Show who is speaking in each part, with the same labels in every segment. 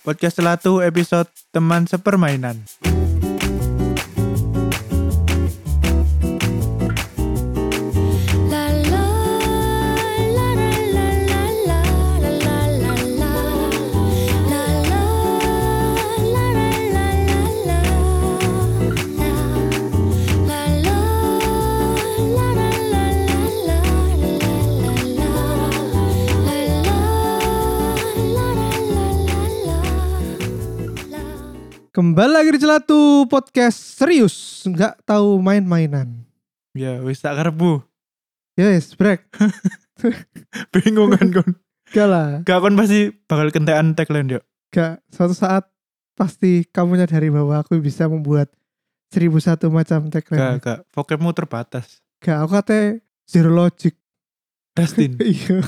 Speaker 1: Podcast Celatu episode teman sepermainan.
Speaker 2: La la la la la la la la la la la. La la la la la la la la. La la la la la la la la la la. La la la la la la la.
Speaker 3: Kembali lagi di Celatu Podcast serius, nggak tahu main-mainan.
Speaker 1: Ya wis tak karbu.
Speaker 3: Yes, break.
Speaker 1: Bingung kan kon.
Speaker 3: Gak lah,
Speaker 1: Gak kon pasti bakal kentekan tagline yo.
Speaker 3: gak. Suatu saat pasti kamu nyadari bahwa aku bisa membuat 1001 macam
Speaker 1: Gak
Speaker 3: tagline. Gak,
Speaker 1: gak vocabmu terbatas.
Speaker 3: aku katanya zero logic.
Speaker 1: Dustin.
Speaker 3: Iya.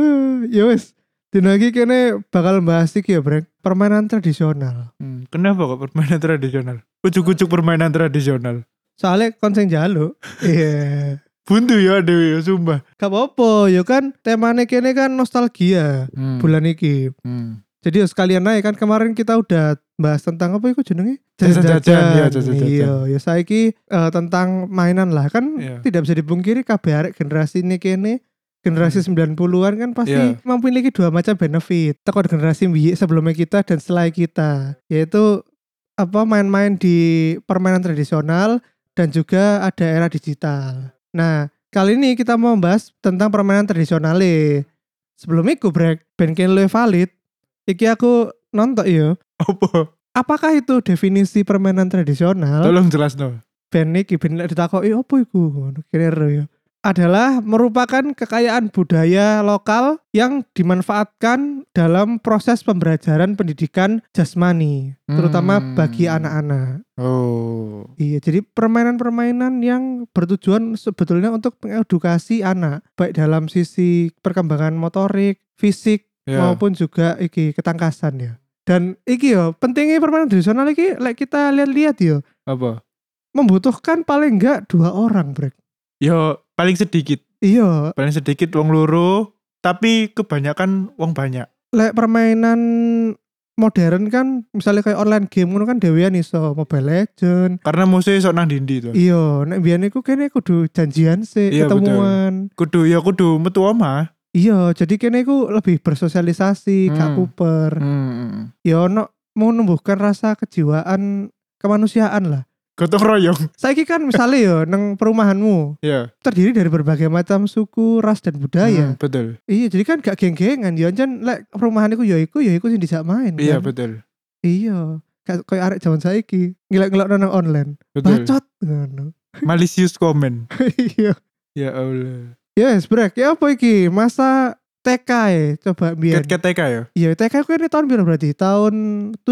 Speaker 3: Eh, ya wes. Dino iki kene bakal bahas iki ya, Brek. Permainan tradisional.
Speaker 1: Hmm, kenapa kok permainan tradisional? Ujuk-ujuk permainan tradisional.
Speaker 3: Soalnya konsen jaluk. Iya.
Speaker 1: Buntu ya Dewi, ya, sumpah.
Speaker 3: Gak apa-apa, ya kan temanya kene kan nostalgia bulan iki.
Speaker 1: Hmm.
Speaker 3: Jadi ya sekalian naik kan kemarin kita udah bahas tentang apa itu jenenge?
Speaker 1: Jajan-jajan, iya, jajan-jajan.
Speaker 3: Iya, ya saiki eh, tentang mainan lah kan
Speaker 1: Iya.
Speaker 3: tidak bisa dipungkiri kabeh arek generasi ini kene generasi 90-an kan pasti
Speaker 1: Iya.
Speaker 3: mampu memiliki dua macam benefit. Teko generasi biye sebelumnya kita dan setelah kita, yaitu apa main-main di permainan tradisional dan juga ada era digital. Nah, kali ini kita mau membahas tentang permainan tradisional. Sebelum iku break, ben kene luwih valid Iki aku nonton yo.
Speaker 1: Apa?
Speaker 3: Apakah itu definisi permainan tradisional?
Speaker 1: Tolong jelas no.
Speaker 3: Ben iki ben lek ditakoki opo iku ngono kene ero yo. Adalah merupakan kekayaan budaya lokal yang dimanfaatkan dalam proses pembelajaran pendidikan jasmani, terutama
Speaker 1: Hmm.
Speaker 3: bagi anak-anak.
Speaker 1: Oh.
Speaker 3: Iya, jadi permainan-permainan yang bertujuan sebetulnya untuk mengedukasi anak, baik dalam sisi perkembangan motorik, fisik,
Speaker 1: Ya.
Speaker 3: maupun juga iki ketangkasan ya. Dan iki yo pentingnya permainan tradisional iki lek kita lihat-lihat yo
Speaker 1: Apa?
Speaker 3: membutuhkan paling enggak dua orang brek.
Speaker 1: Yo Ya, paling sedikit,
Speaker 3: Iya,
Speaker 1: paling sedikit wong loro, tapi kebanyakan wong banyak.
Speaker 3: lek permainan modern kan misalnya kayak online game ngono kan dewean iso Mobile Legend.
Speaker 1: Karena musuhnya sok nang dindi tuh.
Speaker 3: Iya, nek biyen iku kene kudu janjian sih
Speaker 1: Iya, betul.
Speaker 3: ketemuan.
Speaker 1: Kudu ya kudu metu omah.
Speaker 3: Iya, jadi kene iku lebih bersosialisasi, gak
Speaker 1: Hmm.
Speaker 3: kuper. Ya ono mau menumbuhkan rasa kejiwaan kemanusiaan lah.
Speaker 1: Gotong royong.
Speaker 3: Saiki kan misalnya yo neng perumahanmu
Speaker 1: Ya.
Speaker 3: terdiri dari berbagai macam suku, ras dan
Speaker 1: Hmm,
Speaker 3: budaya.
Speaker 1: betul.
Speaker 3: Iya, jadi kan gak geng-gengan ya anjen lek perumahan iku ya iku ya iku sing dijak main.
Speaker 1: Iya
Speaker 3: kan?
Speaker 1: betul.
Speaker 3: Iya. Gak koyo arek jaman saiki ngelak-ngelokno nang online.
Speaker 1: Betul.
Speaker 3: Bacot ngono.
Speaker 1: Malicious comment.
Speaker 3: Iya.
Speaker 1: Ya Allah.
Speaker 3: Yes, brek. Ya apa iki? Masa TK ya? coba biar.
Speaker 1: Ket keteka ya.
Speaker 3: Iya, TK ku ini tahun berapa berarti? Tahun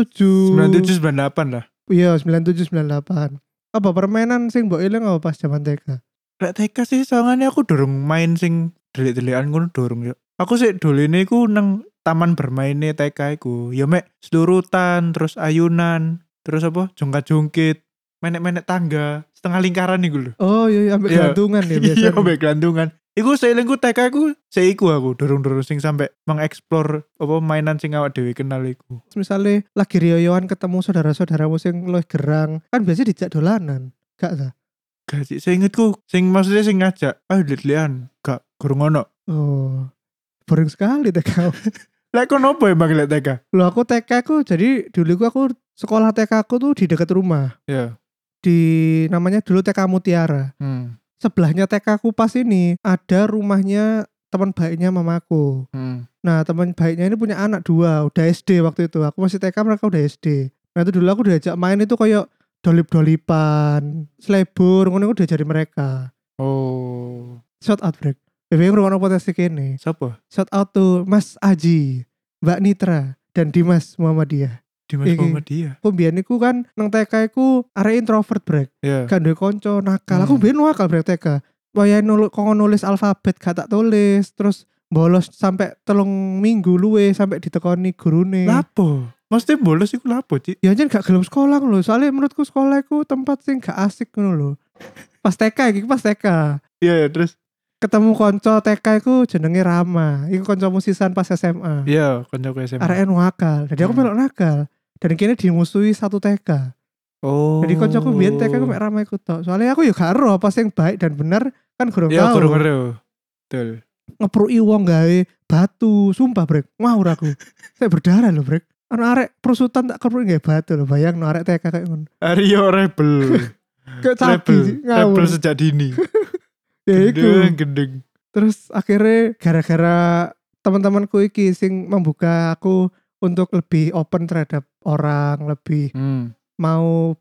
Speaker 3: 7.
Speaker 1: 97 98 lah.
Speaker 3: Iya, 97 98. Apa permainan sing mbok eling apa pas jaman TK?
Speaker 1: Lek TK sih soalnya aku dorong main sing delik-delikan ngono dorong ya. Aku sih dolene iku nang taman bermainnya TK iku. Ya mek selurutan, terus ayunan, terus apa? Jongkat-jongkit, menek-menek tangga, setengah lingkaran iku lho.
Speaker 3: Oh, iya, iya ambek
Speaker 1: Iya.
Speaker 3: gantungan ya
Speaker 1: Iya,
Speaker 3: biasanya.
Speaker 1: mbek gelandungan. Iku seelingku TK ku seiku aku dorong-dorong sing sampe mengeksplor apa mainan sing awak dhewe kenal iku.
Speaker 3: misalnya lagi riyoyoan ketemu saudara-saudaramu sing luwih gerang kan biasanya dijak dolanan gak ta
Speaker 1: Gak sih, seingetku sing maksudnya sing ngajak, ayo lihat-lihan, gak kurang ono.
Speaker 3: oh boring sekali TK
Speaker 1: Lek kon opo emang lek TK?
Speaker 3: lo aku TK ku jadi dulu ku aku sekolah TK aku tuh di dekat rumah
Speaker 1: Ya.
Speaker 3: di namanya dulu TK Mutiara
Speaker 1: Hmm.
Speaker 3: sebelahnya TK ku pas ini ada rumahnya teman baiknya mamaku
Speaker 1: Hmm.
Speaker 3: Nah teman baiknya ini punya anak dua Udah SD waktu itu Aku masih TK mereka udah SD Nah itu dulu aku diajak main itu kayak Dolip-dolipan Selebur Ngono aku diajari mereka
Speaker 1: Oh.
Speaker 3: Shout out break BBM ruang potensi kene
Speaker 1: Siapa?
Speaker 3: Shout out to Mas Aji Mbak Nitra Dan Dimas Muhammadiyah
Speaker 1: Dimas
Speaker 3: Iki.
Speaker 1: Muhammadiyah.
Speaker 3: Aku mbiyen iku kan Nang TK aku Area introvert break
Speaker 1: Ya.
Speaker 3: Gak duwe konco nakal Aku
Speaker 1: Hmm.
Speaker 3: mbiyen nakal break TK Waya nulis, nulis alfabet gak tak tulis Terus bolos sampai telung minggu luwe sampai ditekoni gurune.
Speaker 1: Lapo? Maksudnya bolos iku lapo, Cik?
Speaker 3: ya anjir gak gelem sekolah lho soalnya menurutku sekolah itu tempat sing gak asik ngono lho pas TK iki pas TK
Speaker 1: Iya, ya, terus
Speaker 3: ketemu konco TK ku jenenge Rama. Iku konco musisan pas SMA.
Speaker 1: Iya, koncoku SMA.
Speaker 3: Arek nakal. Jadi aku
Speaker 1: Hmm.
Speaker 3: melok nakal. Dan kini dimusuhi satu TK.
Speaker 1: Oh.
Speaker 3: Jadi koncoku biyen TK ku mek Rama iku tok. Soalnya aku ya gak ero apa sing baik dan bener kan gurung
Speaker 1: Ya,
Speaker 3: tau.
Speaker 1: guru guru. Betul.
Speaker 3: Ngepruki wong gawe batu. Sumpah, Brek. Ngawur aku. Saya berdarah loh, Brek. Ana arek perusutan tak kepruki gawe batu loh. Bayang arek TK kayak ngono.
Speaker 1: Aryo rebel.
Speaker 3: Kayak cabi
Speaker 1: rebel.
Speaker 3: sih, ngawur.
Speaker 1: Rebel sejak dini.
Speaker 3: Ya iku.
Speaker 1: Gendeng, gendeng.
Speaker 3: terus akhirnya gara-gara teman-temanku iki sing membuka aku untuk lebih open terhadap orang lebih
Speaker 1: Hmm.
Speaker 3: mau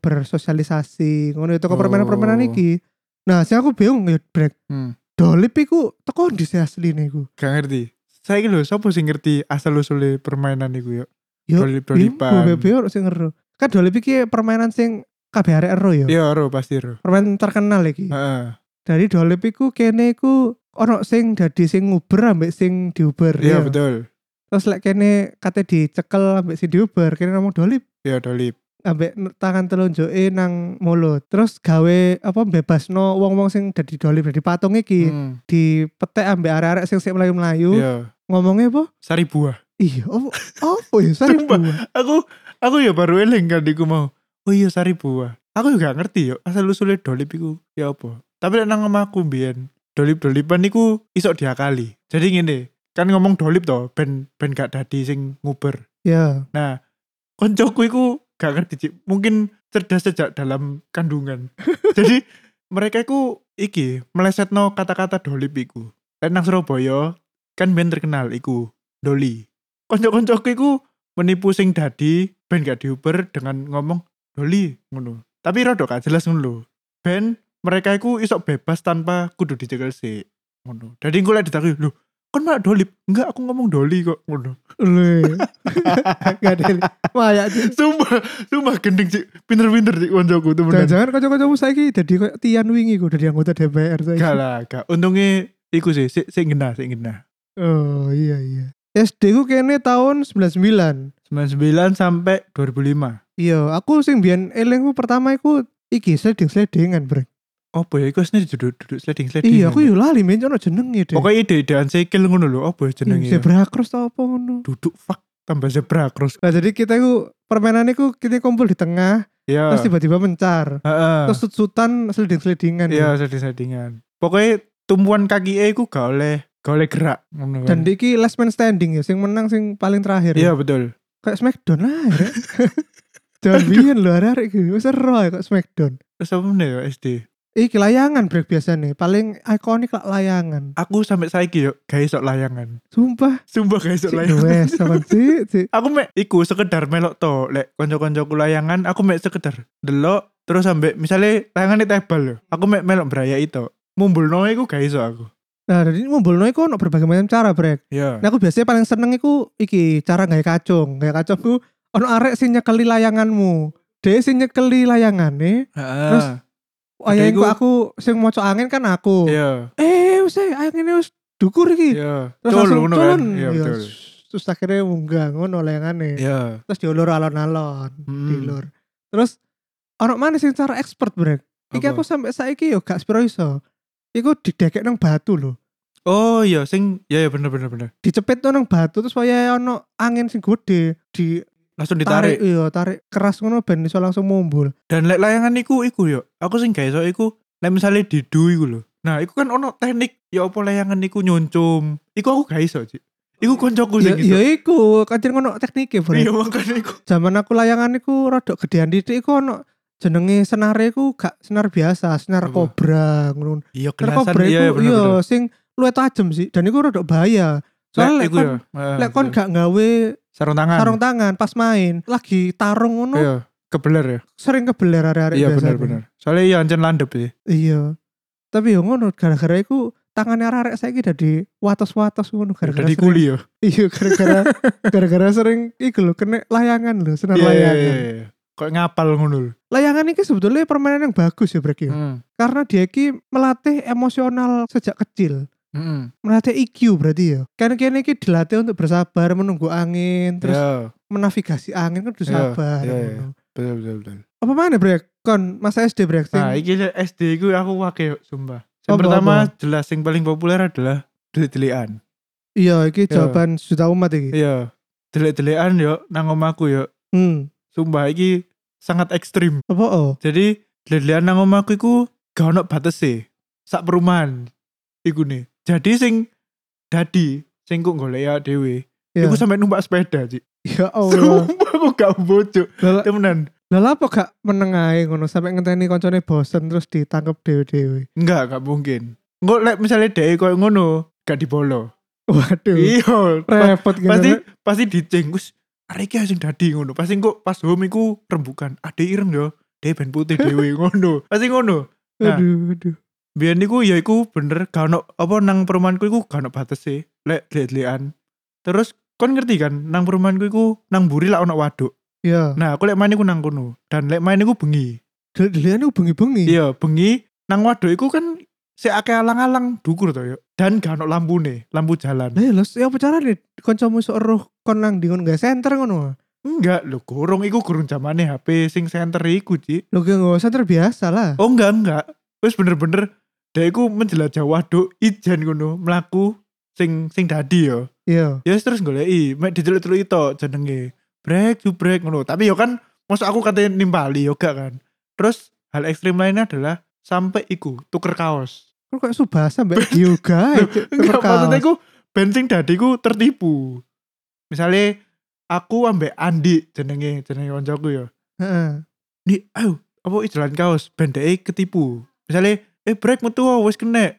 Speaker 3: bersosialisasi ngono itu
Speaker 1: Oh.
Speaker 3: permainan-permainan iki nah saya aku bingung ya break
Speaker 1: Hmm.
Speaker 3: dolip iku teko di asli niku
Speaker 1: Gak ngerti. Saya lho, siapa sih ngerti asal usulnya permainan itu yuk?
Speaker 3: Yo,
Speaker 1: Dolip-dolipan.
Speaker 3: bebe sing ngero kan dolip iki permainan sing kabeh arek ero ya
Speaker 1: Iya, Hmm. ro pasti ro.
Speaker 3: permainan terkenal iki
Speaker 1: Heeh.
Speaker 3: dari dolip iku kene iku ono sing dadi sing nguber ambek sing diuber
Speaker 1: Iya,
Speaker 3: ya.
Speaker 1: betul.
Speaker 3: terus lek kene kate dicekel ambek si diuber kene ngomong dolip
Speaker 1: Iya, dolip.
Speaker 3: ambek n- tangan telunjuke nang mulut terus gawe apa bebasno wong-wong sing dadi dolip dadi patung iki
Speaker 1: Hmm.
Speaker 3: dipetek ambek arek-arek sing sik mlayu-mlayu
Speaker 1: Iya.
Speaker 3: ngomongnya apa
Speaker 1: Sari buah.
Speaker 3: iya apa apa ya sari
Speaker 1: Sumpah.
Speaker 3: buah
Speaker 1: Aku aku ya baru eling kan iku mau. Oh iya, sari buah. Aku juga ngerti yuk asal usulnya dolip iku ya apa. Tapi nek nang omahku biyen dolip-dolipan niku isok diakali. Jadi ngene, kan ngomong dolip toh, ben ben gak dadi sing nguber.
Speaker 3: ya
Speaker 1: Nah, koncoku iku gak ngerti Cik. Mungkin cerdas sejak dalam kandungan. Jadi mereka iku iki melesetno kata-kata dolip iku. Lek nang Surabaya kan ben terkenal iku doli. Konco-koncoku iku menipu sing dadi ben gak diuber dengan ngomong doli ngono. Tapi rada gak jelas ngono lho. Ben mereka iku isok bebas tanpa kudu dicekel sik ngono. Jadi gue lek ditakuti, lho, kon malah dolip. Enggak, aku ngomong doli kok ngono.
Speaker 3: lho gak ada mayak Cik.
Speaker 1: Sumpah, sumpah gendeng sih, pinter-pinter sih koncoku temenan.
Speaker 3: jangan-jangan kocok-kocokmu saiki dadi koyo Tian wingi ku dadi anggota DPR saiki
Speaker 1: Gak lah, gak. Untungnya iku sih, sik sik ngena, sik ngena.
Speaker 3: oh iya iya SD ku kene tahun 99
Speaker 1: 99 sampai 2005.
Speaker 3: Iya, aku sing biyen elingku pertama iku iki sliding-slidingan, Bro.
Speaker 1: Apa ya iku asline duduk-duduk sliding-sliding.
Speaker 3: Iya, aku yo lali men ono jenenge deh.
Speaker 1: Pokoknya ide-idean sikil ngono lho, apa ya jenenge? ya?
Speaker 3: Iya, zebra cross tau apa ngono.
Speaker 1: Duduk fuck tambah zebra cross.
Speaker 3: Nah, jadi kita iku permainan iku kita kumpul di tengah,
Speaker 1: Ya.
Speaker 3: terus tiba-tiba kan ya? mencar.
Speaker 1: Heeh.
Speaker 3: Terus sut-sutan sliding-slidingan.
Speaker 1: Ah. Iya, sliding-slidingan. Pokoknya tumpuan kaki e iku gak oleh gak oleh gerak ngono kan.
Speaker 3: Dan iki last man standing ya, sing menang sing paling terakhir.
Speaker 1: Iya, betul.
Speaker 3: Kayak Smackdown lah. Ya. Jangan biyen lho arek-arek iki. Wis ero ya kok Smackdown.
Speaker 1: Terus apa meneh ya SD?
Speaker 3: Iki layangan break biasa nih, paling ikonik lah layangan.
Speaker 1: Aku sampai saiki yo gak iso layangan.
Speaker 3: Sumpah,
Speaker 1: Sumpah gak iso
Speaker 3: cik
Speaker 1: layangan.
Speaker 3: duwe sama cik, cik.
Speaker 1: aku mek iku sekedar melok to lek kanca-kancaku layangan aku mek sekedar delok terus sampe misalnya layangane tebal lho aku mek melok braya itu mumbulno iku gak iso aku
Speaker 3: Nah, jadi ngumpulno iku ono berbagai macam cara, Brek.
Speaker 1: ya
Speaker 3: Nah, aku biasanya paling seneng iku iki, cara gawe kacung. Gawe kacung ku ono arek sing nyekeli layanganmu. Dhewe sing nyekeli layangane,
Speaker 1: terus
Speaker 3: wayahe
Speaker 1: Adekku-
Speaker 3: iku aku sing maca angin kan aku.
Speaker 1: iya
Speaker 3: Eh, wis eh, angine wis dukur iki.
Speaker 1: iya
Speaker 3: Terus
Speaker 1: Cul,
Speaker 3: langsung
Speaker 1: ngono
Speaker 3: culun.
Speaker 1: kan? iya
Speaker 3: Ya,
Speaker 1: betul
Speaker 3: Terus akhirnya munggah ngono layangane.
Speaker 1: iya
Speaker 3: Terus diulur alon-alon,
Speaker 1: Hmm.
Speaker 3: diulur. Terus ono maneh sing cara expert, Brek. Iki
Speaker 1: Apa?
Speaker 3: aku sampe saiki yo gak sepiro iso. Iku didekek nang batu lho.
Speaker 1: oh iya sing iya iya bener bener bener
Speaker 3: dicepit tuh nang batu terus wayahe ono angin sing gede ditarik
Speaker 1: langsung ditarik
Speaker 3: iya tarik keras ngono ben iso langsung mumbul
Speaker 1: dan lek layangan iku iku yo aku sing gak iso iku lek misalnya didu iku lho nah iku kan ono teknik ya apa layangan iku nyoncum iku aku gak iso sih iku koncoku Oh,
Speaker 3: ya,
Speaker 1: sing gitu? iso
Speaker 3: ya iku kancen ngono teknike bro
Speaker 1: iya makanya iku
Speaker 3: zaman aku layangan iku rodok gedean titik iku ono jenenge senare iku gak senar biasa senar
Speaker 1: Apa?
Speaker 3: kobra ngono
Speaker 1: iya kelasan
Speaker 3: senar kobra
Speaker 1: iya iya,
Speaker 3: iku
Speaker 1: bener
Speaker 3: iya
Speaker 1: bener
Speaker 3: sing luwih tajem sih dan iku rodok bahaya soalnya
Speaker 1: iku
Speaker 3: lek kon
Speaker 1: ya. Heeh,
Speaker 3: lek kon
Speaker 1: betul.
Speaker 3: gak gawe
Speaker 1: sarung tangan.
Speaker 3: sarung tangan pas main lagi tarung ngono
Speaker 1: Iya, kebeler ya.
Speaker 3: sering kebeler arek-arek
Speaker 1: Iya
Speaker 3: biasanya.
Speaker 1: benar-benar. Soalnya iya ancen landep sih.
Speaker 3: Iya. Tapi yo ngono gara-gara iku tangannya arek saiki dadi watos-watos ngono gara-gara
Speaker 1: Jadi
Speaker 3: sering-
Speaker 1: kuli ya.
Speaker 3: Iya gara-gara gara-gara sering iku lho kena layangan lho, senar
Speaker 1: Iya, iya,
Speaker 3: layangan.
Speaker 1: iya. Kok ngapal ngono lho.
Speaker 3: Layangan iki sebetulnya permainan yang bagus ya Brek ya.
Speaker 1: Hmm,
Speaker 3: Karena dia iki melatih emosional sejak kecil.
Speaker 1: Heeh.
Speaker 3: Melatih IQ berarti ya. Karena kene iki dilatih untuk bersabar menunggu angin, terus
Speaker 1: Iya,
Speaker 3: menavigasi angin kan kudu
Speaker 1: Iya,
Speaker 3: sabar.
Speaker 1: iya,
Speaker 3: ngono.
Speaker 1: betul betul betul. Ah,
Speaker 3: Apa mana Brek? Kon masa SD Brek sing
Speaker 1: Nah, iki lek SD iku aku wake yuk, sumpah. Yang
Speaker 3: Apa,
Speaker 1: pertama
Speaker 3: apa?
Speaker 1: jelas yang paling populer adalah delik-delikan.
Speaker 3: Iya, iki
Speaker 1: Iya.
Speaker 3: jawaban juta umat iki.
Speaker 1: Iya. Delik-delikan yo nang omahku yo.
Speaker 3: Hmm.
Speaker 1: Sumpah iki sangat ekstrim.
Speaker 3: Apa oh?
Speaker 1: Jadi delik-delikan nang omahku iku gak ono batese. Sak perumahan iku nih. Jadi sing dadi sing kok golek ya dhewe.
Speaker 3: Iya. Oh,
Speaker 1: Iku sampe numpak sepeda, Cik.
Speaker 3: Ya Allah.
Speaker 1: Sumpah aku gak bojo.
Speaker 3: Lah-
Speaker 1: Temenan.
Speaker 3: Lah lah apa gak meneng ae ngono sampe ngenteni koncone bosen terus ditangkep dhewe-dhewe.
Speaker 1: Enggak, gak mungkin. Engko lek misale dhewe koyo ngono, gak dibolo.
Speaker 3: Waduh.
Speaker 1: Iya,
Speaker 3: Repot gitu.
Speaker 1: pasti pasti diceng Gus, arek iki sing dadi ngono pasti kok pas home iku rembukan ade ireng yo dhewe ben putih dhewe ngono pasti ngono nah.
Speaker 3: Aduh, aduh.
Speaker 1: biyen niku ya iku bener gak ono apa nang perumahanku iku gak ono batese lek dlek-dlekan terus kon ngerti kan nang perumahanku iku nang buri lah ono waduk
Speaker 3: Ya,
Speaker 1: nah aku lek main iku nang kono dan lek main iku bengi
Speaker 3: dhewe-dhewean iku bengi-bengi.
Speaker 1: iya bengi nang waduk iku kan si akeh alang-alang dukur to yo dan gak ono lampune lampu jalan
Speaker 3: Lah ya lho, ya apa carane kancamu sok roh kon nang ndi kon gak senter ngono.
Speaker 1: enggak lho gorong iku gorong zamane HP sing center iku Ci.
Speaker 3: Lho gak nggak senter biasa lah.
Speaker 1: Oh enggak enggak. Wis bener-bener dia iku menjelajah waduk ijen ngono mlaku sing sing dadi yo.
Speaker 3: Iya.
Speaker 1: Ya wis terus goleki mek diceluk-celuk itu jenenge. Break to break ngono. Tapi yo kan masa aku katanya nimpali yo gak kan. Terus hal ekstrim lainnya adalah sampai iku tuker kaos.
Speaker 3: Kok kayak subasa mbek yoga.
Speaker 1: Enggak maksudnya iku bensin dadi iku tertipu. Misalnya aku ambek Andi jenenge jenenge koncoku ya. yo.
Speaker 3: Heeh.
Speaker 1: di ayo apa i jalan kaos ben dhek ketipu misalnya eh break metu oh, wis kena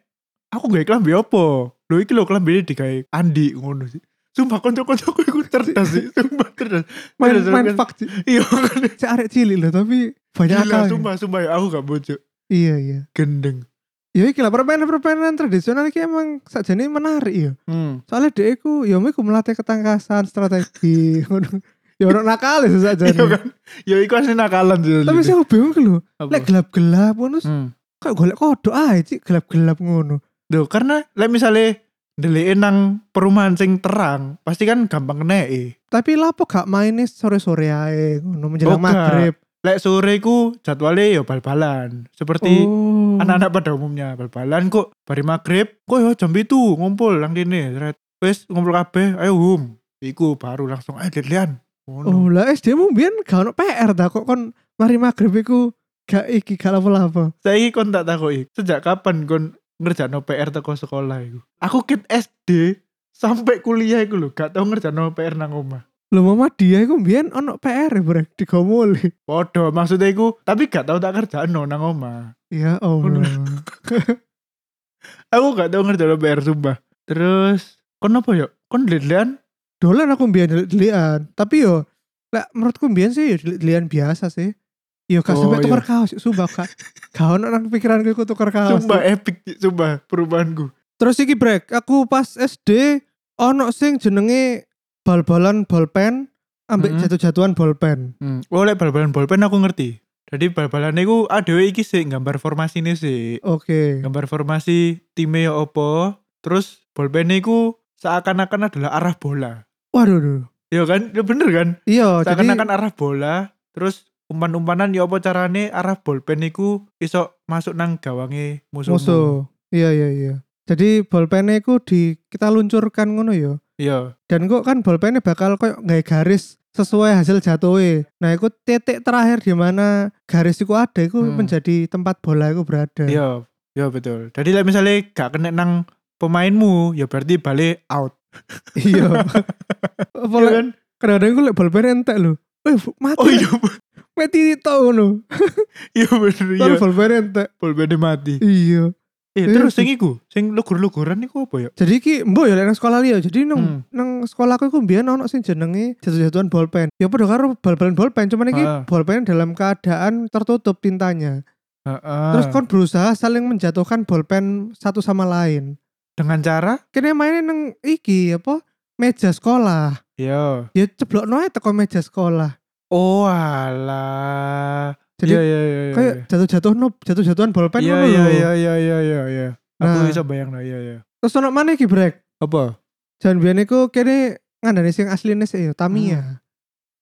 Speaker 1: aku gak klambi apa lho iki lho klambi digawe Andi ngono sih sumpah kanca-kancaku iku cerdas sih sumpah cerdas
Speaker 3: Main
Speaker 1: Cerdas,
Speaker 3: main
Speaker 1: cerdas.
Speaker 3: fuck sih.
Speaker 1: iya
Speaker 3: Cek arek cilik lho tapi banyak
Speaker 1: gila
Speaker 3: akal.
Speaker 1: sumpah sumpah ya, aku gak bocok
Speaker 3: Iya, iya.
Speaker 1: gendeng
Speaker 3: Ya iki lah permainan-permainan tradisional iki emang sakjane menarik ya.
Speaker 1: hmm.
Speaker 3: soalnya dia ku ya aku melatih ketangkasan strategi ngono. ya orang nakal ya
Speaker 1: iya
Speaker 3: saja
Speaker 1: kan ya iku asli nakalan sih
Speaker 3: tapi sih aku bingung lho
Speaker 1: Apa?
Speaker 3: lek gelap gelap ngono
Speaker 1: hmm.
Speaker 3: kayak golek kodok aja cik gelap gelap ngono
Speaker 1: Loh, karena lek misalnya deliin nang perumahan sing terang pasti kan gampang kena eh.
Speaker 3: tapi lapo gak mainnya sore sore aja ngono
Speaker 1: Oh,
Speaker 3: menjelang
Speaker 1: gak.
Speaker 3: maghrib
Speaker 1: lek sore ku jadwalnya ya bal-balan seperti
Speaker 3: oh.
Speaker 1: anak-anak pada umumnya bal-balan kok bari maghrib kok ya jam itu ngumpul nang kene seret. wis ngumpul kabeh ayo hum iku baru langsung ayo lihat ngono
Speaker 3: oh lah SD mu biar gak ono PR dah kok kon mari maghrib iku gak iki gak lapo lapo
Speaker 1: saiki kon tak takoki sejak kapan kon ngerjakno PR teko sekolah iku aku kid SD sampai kuliah iku lho gak tau ngerjakno PR nang omah
Speaker 3: lo mama dia iku biar ono PR ya brek digomoli
Speaker 1: Podo maksudnya iku tapi gak tau tak kerjakno nang omah
Speaker 3: ya Allah
Speaker 1: aku gak tau ngerjakno PR sumpah terus kon apa yo kon lihat
Speaker 3: dolan aku mbiyen delik-delikan tapi yo lek menurutku mbiyen sih yo delik-delikan biasa sih yo gak
Speaker 1: Oh,
Speaker 3: sampe
Speaker 1: iya.
Speaker 3: tuker kaos sumpah gak gak ono nang pikiranku iku tuker kaos
Speaker 1: sumpah epic Ci, sumpah perubahanku
Speaker 3: terus iki break aku pas SD ono sing jenenge bal-balan bolpen ambek
Speaker 1: Mhm.
Speaker 3: jatuh-jatuhan bolpen
Speaker 1: Hmm. Oh, lek bal-balan bolpen aku ngerti. Jadi bal-balan niku adewe iki sih gambar formasine sih.
Speaker 3: oke
Speaker 1: Gambar formasi time ya opo. Terus bolpen niku seakan-akan adalah arah bola.
Speaker 3: waduh duh.
Speaker 1: Ya kan? Ya bener kan?
Speaker 3: iya jadi
Speaker 1: Seakan-akan arah bola, terus umpan-umpanan ya opo carane arah bolpen niku iso masuk nang gawange musuhmu.
Speaker 3: musuh iya iya iya jadi bolpennya iku di kita luncurkan ngono yo
Speaker 1: Iya.
Speaker 3: dan kok kan bolpennya bakal koyo nggak garis sesuai hasil jatuhnya nah itu titik terakhir di mana garis itu ada itu
Speaker 1: Hmm.
Speaker 3: menjadi tempat bola itu berada
Speaker 1: Iya. Iya betul. Jadi lah misalnya gak kena nang pemainmu, ya berarti balik out.
Speaker 3: iya
Speaker 1: Iya
Speaker 3: apalagi
Speaker 1: kan?
Speaker 3: kadang-kadang gue liat bolpennya entek loh eh mati
Speaker 1: Oh iya,
Speaker 3: mati tau no
Speaker 1: iya bener iya.
Speaker 3: tapi bolpennya entek
Speaker 1: Bolpennya mati.
Speaker 3: iya
Speaker 1: Eh,
Speaker 3: Iya,
Speaker 1: terus
Speaker 3: sih.
Speaker 1: sing iku, sing lugur-luguran iku apa ya?
Speaker 3: jadi ki mbok ya lek nang sekolah liya jadi nang
Speaker 1: Hmm.
Speaker 3: nang sekolah aku iku mbiyen ono sing jenenge jatuh-jatuhan bolpen ya padha karo bal-balan bolpen cuman iki
Speaker 1: Ah.
Speaker 3: bolpen dalam keadaan tertutup tintanya terus
Speaker 1: Ah.
Speaker 3: kon berusaha saling menjatuhkan bolpen satu sama lain
Speaker 1: dengan cara
Speaker 3: kene mainnya neng iki apa meja sekolah
Speaker 1: ya.
Speaker 3: ya ceblok noe teko meja sekolah
Speaker 1: Oh alah.
Speaker 3: jadi
Speaker 1: ya ya ya.
Speaker 3: kayak jatuh-jatuh no jatuh-jatuhan bolpen
Speaker 1: Iya
Speaker 3: ngono
Speaker 1: iya
Speaker 3: lho.
Speaker 1: iya iya iya iya iya. Aku
Speaker 3: Nah.
Speaker 1: bisa bayang lah iya iya.
Speaker 3: terus ono mana iki brek
Speaker 1: Apa?
Speaker 3: jangan biyen iku kene ngandani sing asline sih ya
Speaker 1: Hmm.
Speaker 3: Tamiya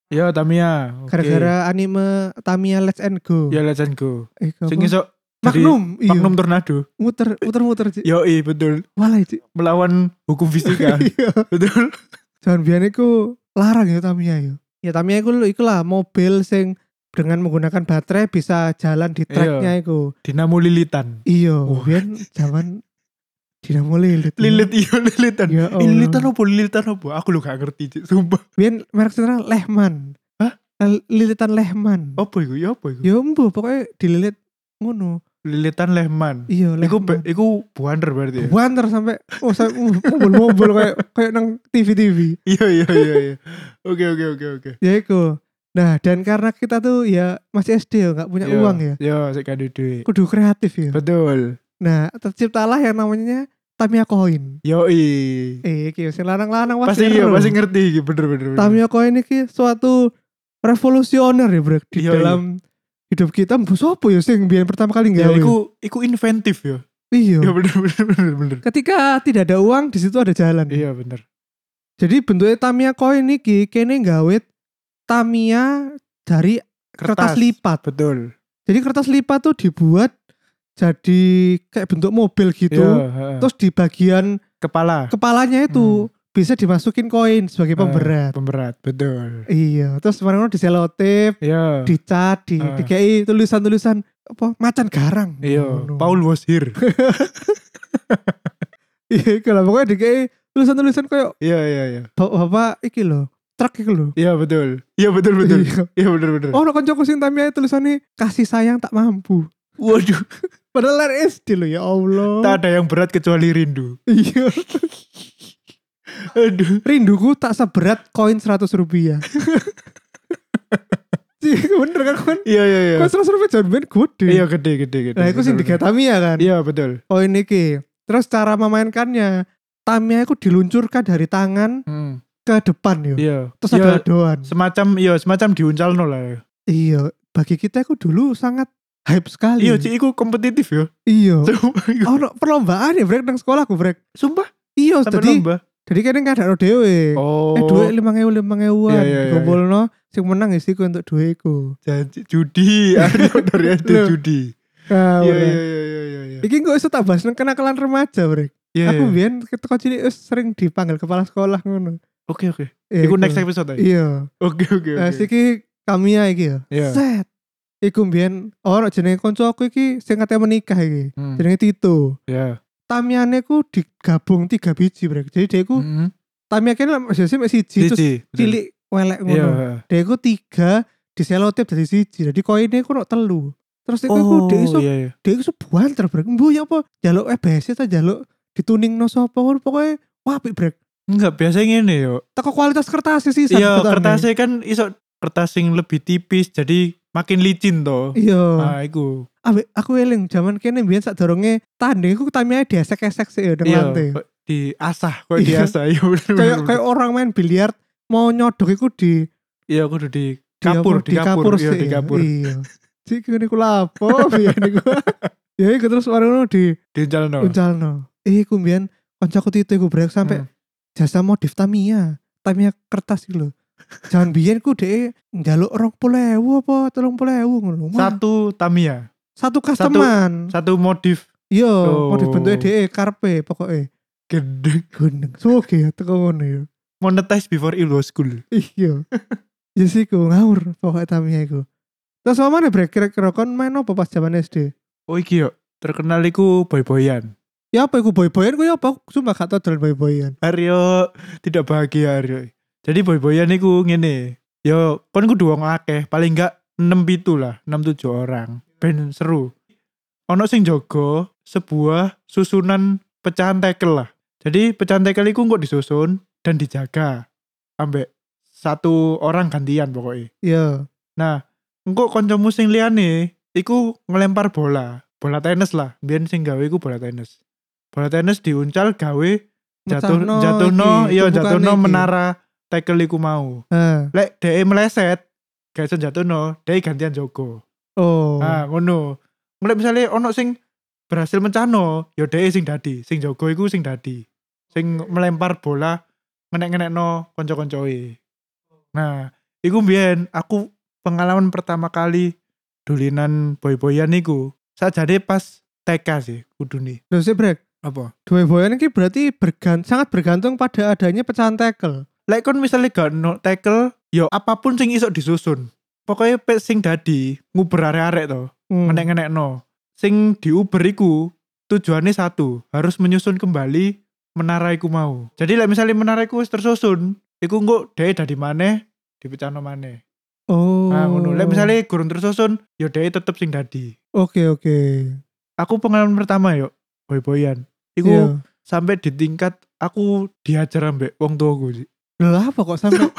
Speaker 1: Ya Tamiya. oke.
Speaker 3: gara-gara anime Tamiya Let's and Go
Speaker 1: ya Legend Go.
Speaker 3: eh, apa?
Speaker 1: Sing iso Jadi,
Speaker 3: Magnum, iya.
Speaker 1: Magnum Ya. tornado.
Speaker 3: muter muter muter Cik.
Speaker 1: Yoi, betul.
Speaker 3: Walah, Cik.
Speaker 1: Melawan hukum fisika.
Speaker 3: Iya.
Speaker 1: betul.
Speaker 3: Jangan biar iku larang ya Tamiya ya. Ya Tamiya iku iku lah mobil sing dengan menggunakan baterai bisa jalan di treknya iku.
Speaker 1: Dinamo lilitan.
Speaker 3: Iya,
Speaker 1: Iya. Wah.
Speaker 3: biyen zaman dinamo lilit.
Speaker 1: Lilit iya lilitan.
Speaker 3: Ya
Speaker 1: Eh,
Speaker 3: Allah.
Speaker 1: lilitan apa? Lilitan apa? Aku lu gak ngerti, Cik. Sumpah.
Speaker 3: Biyen merek sentra Lehman.
Speaker 1: Hah?
Speaker 3: L- Lilitan Lehman.
Speaker 1: Apa iku? Ya apa iku?
Speaker 3: Ya embo pokoknya dililit ngono.
Speaker 1: Lilitan Lehman.
Speaker 3: Iya,
Speaker 1: Iku be-
Speaker 3: Lehman.
Speaker 1: iku buander berarti ya.
Speaker 3: Buanter sampai oh sampai mobil-mobil kayak kayak nang TV-TV.
Speaker 1: Iya iya iya iya. Oke oke oke oke.
Speaker 3: ya iku nah dan karena kita tuh ya masih SD ya nggak punya
Speaker 1: Yo,
Speaker 3: uang ya
Speaker 1: Yo, Iya. sik kado duit.
Speaker 3: kudu kreatif ya
Speaker 1: Betul.
Speaker 3: nah terciptalah yang namanya Tamiya Coin
Speaker 1: Yoi.
Speaker 3: eh iki sing lanang-lanang wah,
Speaker 1: Pasti
Speaker 3: seru.
Speaker 1: iya, pasti ngerti iki bener bener. bener.
Speaker 3: Tamiya Coin iki suatu revolusioner ya bro di
Speaker 1: Iya,
Speaker 3: dalam hidup kita mbok sopo ya sing biyen pertama kali
Speaker 1: Ya,
Speaker 3: nggawe
Speaker 1: iku iku inventif ya.
Speaker 3: iya
Speaker 1: Ya bener bener bener bener.
Speaker 3: ketika tidak ada uang di situ ada jalan
Speaker 1: Iya bener.
Speaker 3: jadi bentuknya Tamiya Coin iki kene nggawe Tamiya dari kertas lipat
Speaker 1: Betul.
Speaker 3: Jadi kertas lipat tuh dibuat jadi kayak bentuk mobil gitu.
Speaker 1: Iya, Hmm. heeh.
Speaker 3: Terus di bagian
Speaker 1: kepala
Speaker 3: kepalanya itu bisa dimasukin
Speaker 1: Ah.
Speaker 3: koin sebagai pemberat.
Speaker 1: pemberat. Betul.
Speaker 3: Iya, terus kemarin di selotip,
Speaker 1: Iya.
Speaker 3: dicat, di
Speaker 1: Ah.
Speaker 3: dikei tulisan-tulisan apa macan garang.
Speaker 1: Iya,
Speaker 3: Ngono.
Speaker 1: Paul was here.
Speaker 3: Iya, kalau pokoknya dikei tulisan-tulisan kayak
Speaker 1: Iya iya iya.
Speaker 3: "Bap- bapak iki loh, truk iki loh.
Speaker 1: Iya betul. Iya betul betul.
Speaker 3: Iya.
Speaker 1: Iya bener bener.
Speaker 3: Oh, no koncoku sing tamia tulisannya kasih sayang tak mampu.
Speaker 1: waduh.
Speaker 3: Padahal lari SD loh ya Allah.
Speaker 1: Tak ada yang berat kecuali rindu.
Speaker 3: Iya.
Speaker 1: Aduh.
Speaker 3: rinduku tak seberat koin 100 rupiah Cih, bener kan koin
Speaker 1: Iya iya iya.
Speaker 3: koin 100 rupiah jangan main gede
Speaker 1: Iya gede gede gede.
Speaker 3: nah itu sih
Speaker 1: Bener,
Speaker 3: tiga
Speaker 1: bener.
Speaker 3: Tamiya kan
Speaker 1: Iya betul.
Speaker 3: koin iki terus cara memainkannya Tamiya itu diluncurkan dari tangan
Speaker 1: Hmm.
Speaker 3: ke depan yo
Speaker 1: Iya.
Speaker 3: terus
Speaker 1: Iya,
Speaker 3: ada adoan
Speaker 1: semacam iya semacam diuncal lah. ya.
Speaker 3: iya bagi kita itu dulu sangat hype sekali
Speaker 1: Iya, cik iku kompetitif ya.
Speaker 3: iya
Speaker 1: Sumpah. iku.
Speaker 3: oh no, perlombaan ya brek nang sekolahku brek
Speaker 1: Sumpah
Speaker 3: iya
Speaker 1: sampai
Speaker 3: jadi
Speaker 1: lomba.
Speaker 3: jadi kadang nggak ada dewe
Speaker 1: Oh.
Speaker 3: eh duit lima ewu lima ewuan
Speaker 1: Iya, iya, iya,
Speaker 3: Dikumpulno, sing menang isiku untuk duitku
Speaker 1: janji judi. Aduh dari SD
Speaker 3: Loh.
Speaker 1: judi.
Speaker 3: Ah,
Speaker 1: Iya
Speaker 3: ora.
Speaker 1: iya iya iya iya iya.
Speaker 3: Iki kok iso tak bahas nang kenakalan remaja, Brek.
Speaker 1: Iya.
Speaker 3: Aku
Speaker 1: iya.
Speaker 3: biyen ketika cilik wis sering dipanggil kepala sekolah ngono.
Speaker 1: Oke oke. Ah,
Speaker 3: Ya,
Speaker 1: Iku next episode aja.
Speaker 3: Iya.
Speaker 1: Oke oke
Speaker 3: Nah,
Speaker 1: oke.
Speaker 3: iki kami ya iki ya.
Speaker 1: Iya.
Speaker 3: Set. Iku biyen ora jenenge kanca aku iki sing katanya menikah iki.
Speaker 1: Hmm,
Speaker 3: Jenenge Tito.
Speaker 1: Iya.
Speaker 3: Tamiane ku digabung tiga biji, Brek. Jadi dia ku
Speaker 1: Mm-mm.
Speaker 3: Tamiya kene lah sih mek siji
Speaker 1: Hmm.
Speaker 3: terus
Speaker 1: Siji, betul.
Speaker 3: cilik welek
Speaker 1: Iya.
Speaker 3: ngono. Dia ku tiga diselotip dari siji. Jadi koinnya ku nok telu. Terus iku ku
Speaker 1: Oh
Speaker 3: dia iso
Speaker 1: iya iya.
Speaker 3: dia itu sebuah terbrek mbu ya apa jaluk EBS ta jaluk dituning no sapa ngono pokoknya wah apik brek
Speaker 1: Enggak biasa ngene yo.
Speaker 3: teko kualitas kertas sih
Speaker 1: Iya, kertasnya kan iso kertas sing lebih tipis jadi makin licin toh.
Speaker 3: iya
Speaker 1: Ah, iku.
Speaker 3: Ambek aku eling zaman kene biyen sak dorongnya tanding iku tamia diesek-esek sih ya nang
Speaker 1: Iya,
Speaker 3: lantai
Speaker 1: kok diasah, kok
Speaker 3: Iya.
Speaker 1: diasah. Iya, bener, bener,
Speaker 3: kayak
Speaker 1: bener.
Speaker 3: kayak orang main biliar mau nyodok iku di
Speaker 1: Iya, aku udah di
Speaker 3: di
Speaker 1: kapur,
Speaker 3: apa,
Speaker 1: di kapur, iya,
Speaker 3: sih
Speaker 1: di
Speaker 3: ya.
Speaker 1: kapur.
Speaker 3: iya sik kene ku lapo biyen iku ya iku terus warung di
Speaker 1: Di jalan no.
Speaker 3: unjalno Eh, iku biyen kancaku titik iku brek sampai
Speaker 1: Hmm.
Speaker 3: jasa modif Tamiya Tamiya kertas gitu loh jangan biyen ku deh njaluk rong ewu apa telung ewu ngono Wah,
Speaker 1: Satu Tamiya,
Speaker 3: satu customan
Speaker 1: satu modif
Speaker 3: iya
Speaker 1: Oh.
Speaker 3: modif bentuknya deh karpe pokoknya
Speaker 1: gede.
Speaker 3: gendeng soge ya teko ngono ya
Speaker 1: Monetize before it was cool.
Speaker 3: iya ya sih ku ngawur pokoknya Tamiya iku terus sama nih brek kira-kira kon main apa pas zaman SD
Speaker 1: Oh iki yo, terkenal iku boy-boyan.
Speaker 3: ya apa iku boy-boyan ku ya apa Aku sumpah gak tau dolan boy-boyan
Speaker 1: Aryo tidak bahagia Aryo. Jadi boy-boyan iku ngene. Yo, kon kudu wong akeh, paling enggak 6 pitu lah, 6 7 orang. Ben seru. Ono sing jaga sebuah susunan pecahan tekel lah. Jadi pecahan tekel iku kok disusun dan dijaga ambek satu orang gantian pokoknya.
Speaker 3: iya
Speaker 1: Nah, engko kancamu sing liyane iku ngelempar bola, bola tenis lah. Biyen sing gawe iku bola tenis. Bola tenis diuncal gawe jatuh
Speaker 3: Mecahno
Speaker 1: jatuh no,
Speaker 3: iki,
Speaker 1: iya
Speaker 3: tumpukan
Speaker 1: jatuh no
Speaker 3: iki.
Speaker 1: menara tackle iku mau.
Speaker 3: Ah,
Speaker 1: Lek dhek meleset, gak iso jatuh no, dhek gantian jogo.
Speaker 3: oh
Speaker 1: Ah, ngono. Mulai misalnya ono sing berhasil mencano, ya dhek sing dadi, sing jogo iku sing dadi. Sing melempar bola ngenek-ngenekno kanca-kancoe. Nah, iku mbiyen aku pengalaman pertama kali dolinan boy-boyan iku. sajane pas TK sih kudu nih
Speaker 3: Loh, sik brek.
Speaker 1: apa
Speaker 3: Dua boyan ini berarti bergan sangat bergantung pada adanya pecahan tackle.
Speaker 1: Lek kon misalnya gak no tackle, yo apapun sing iso disusun. Pokoknya pe sing dadi nguber arek-arek to,
Speaker 3: Hmm.
Speaker 1: ngenek-ngenek no. Sing diuber iku tujuannya satu, harus menyusun kembali menara iku mau. Jadi lek misalnya menara iku wis tersusun, iku engko dhewe dari mana dipecahno maneh.
Speaker 3: Oh.
Speaker 1: Nah, ngono. Lek misalnya gurung tersusun, yo dhewe tetep sing dadi.
Speaker 3: Oke, oke.
Speaker 1: Aku pengalaman pertama yo boy-boyan. Iku
Speaker 3: Iya.
Speaker 1: sampai di tingkat aku diajar ambek wong tuaku sih.
Speaker 3: Lah apa kok sampai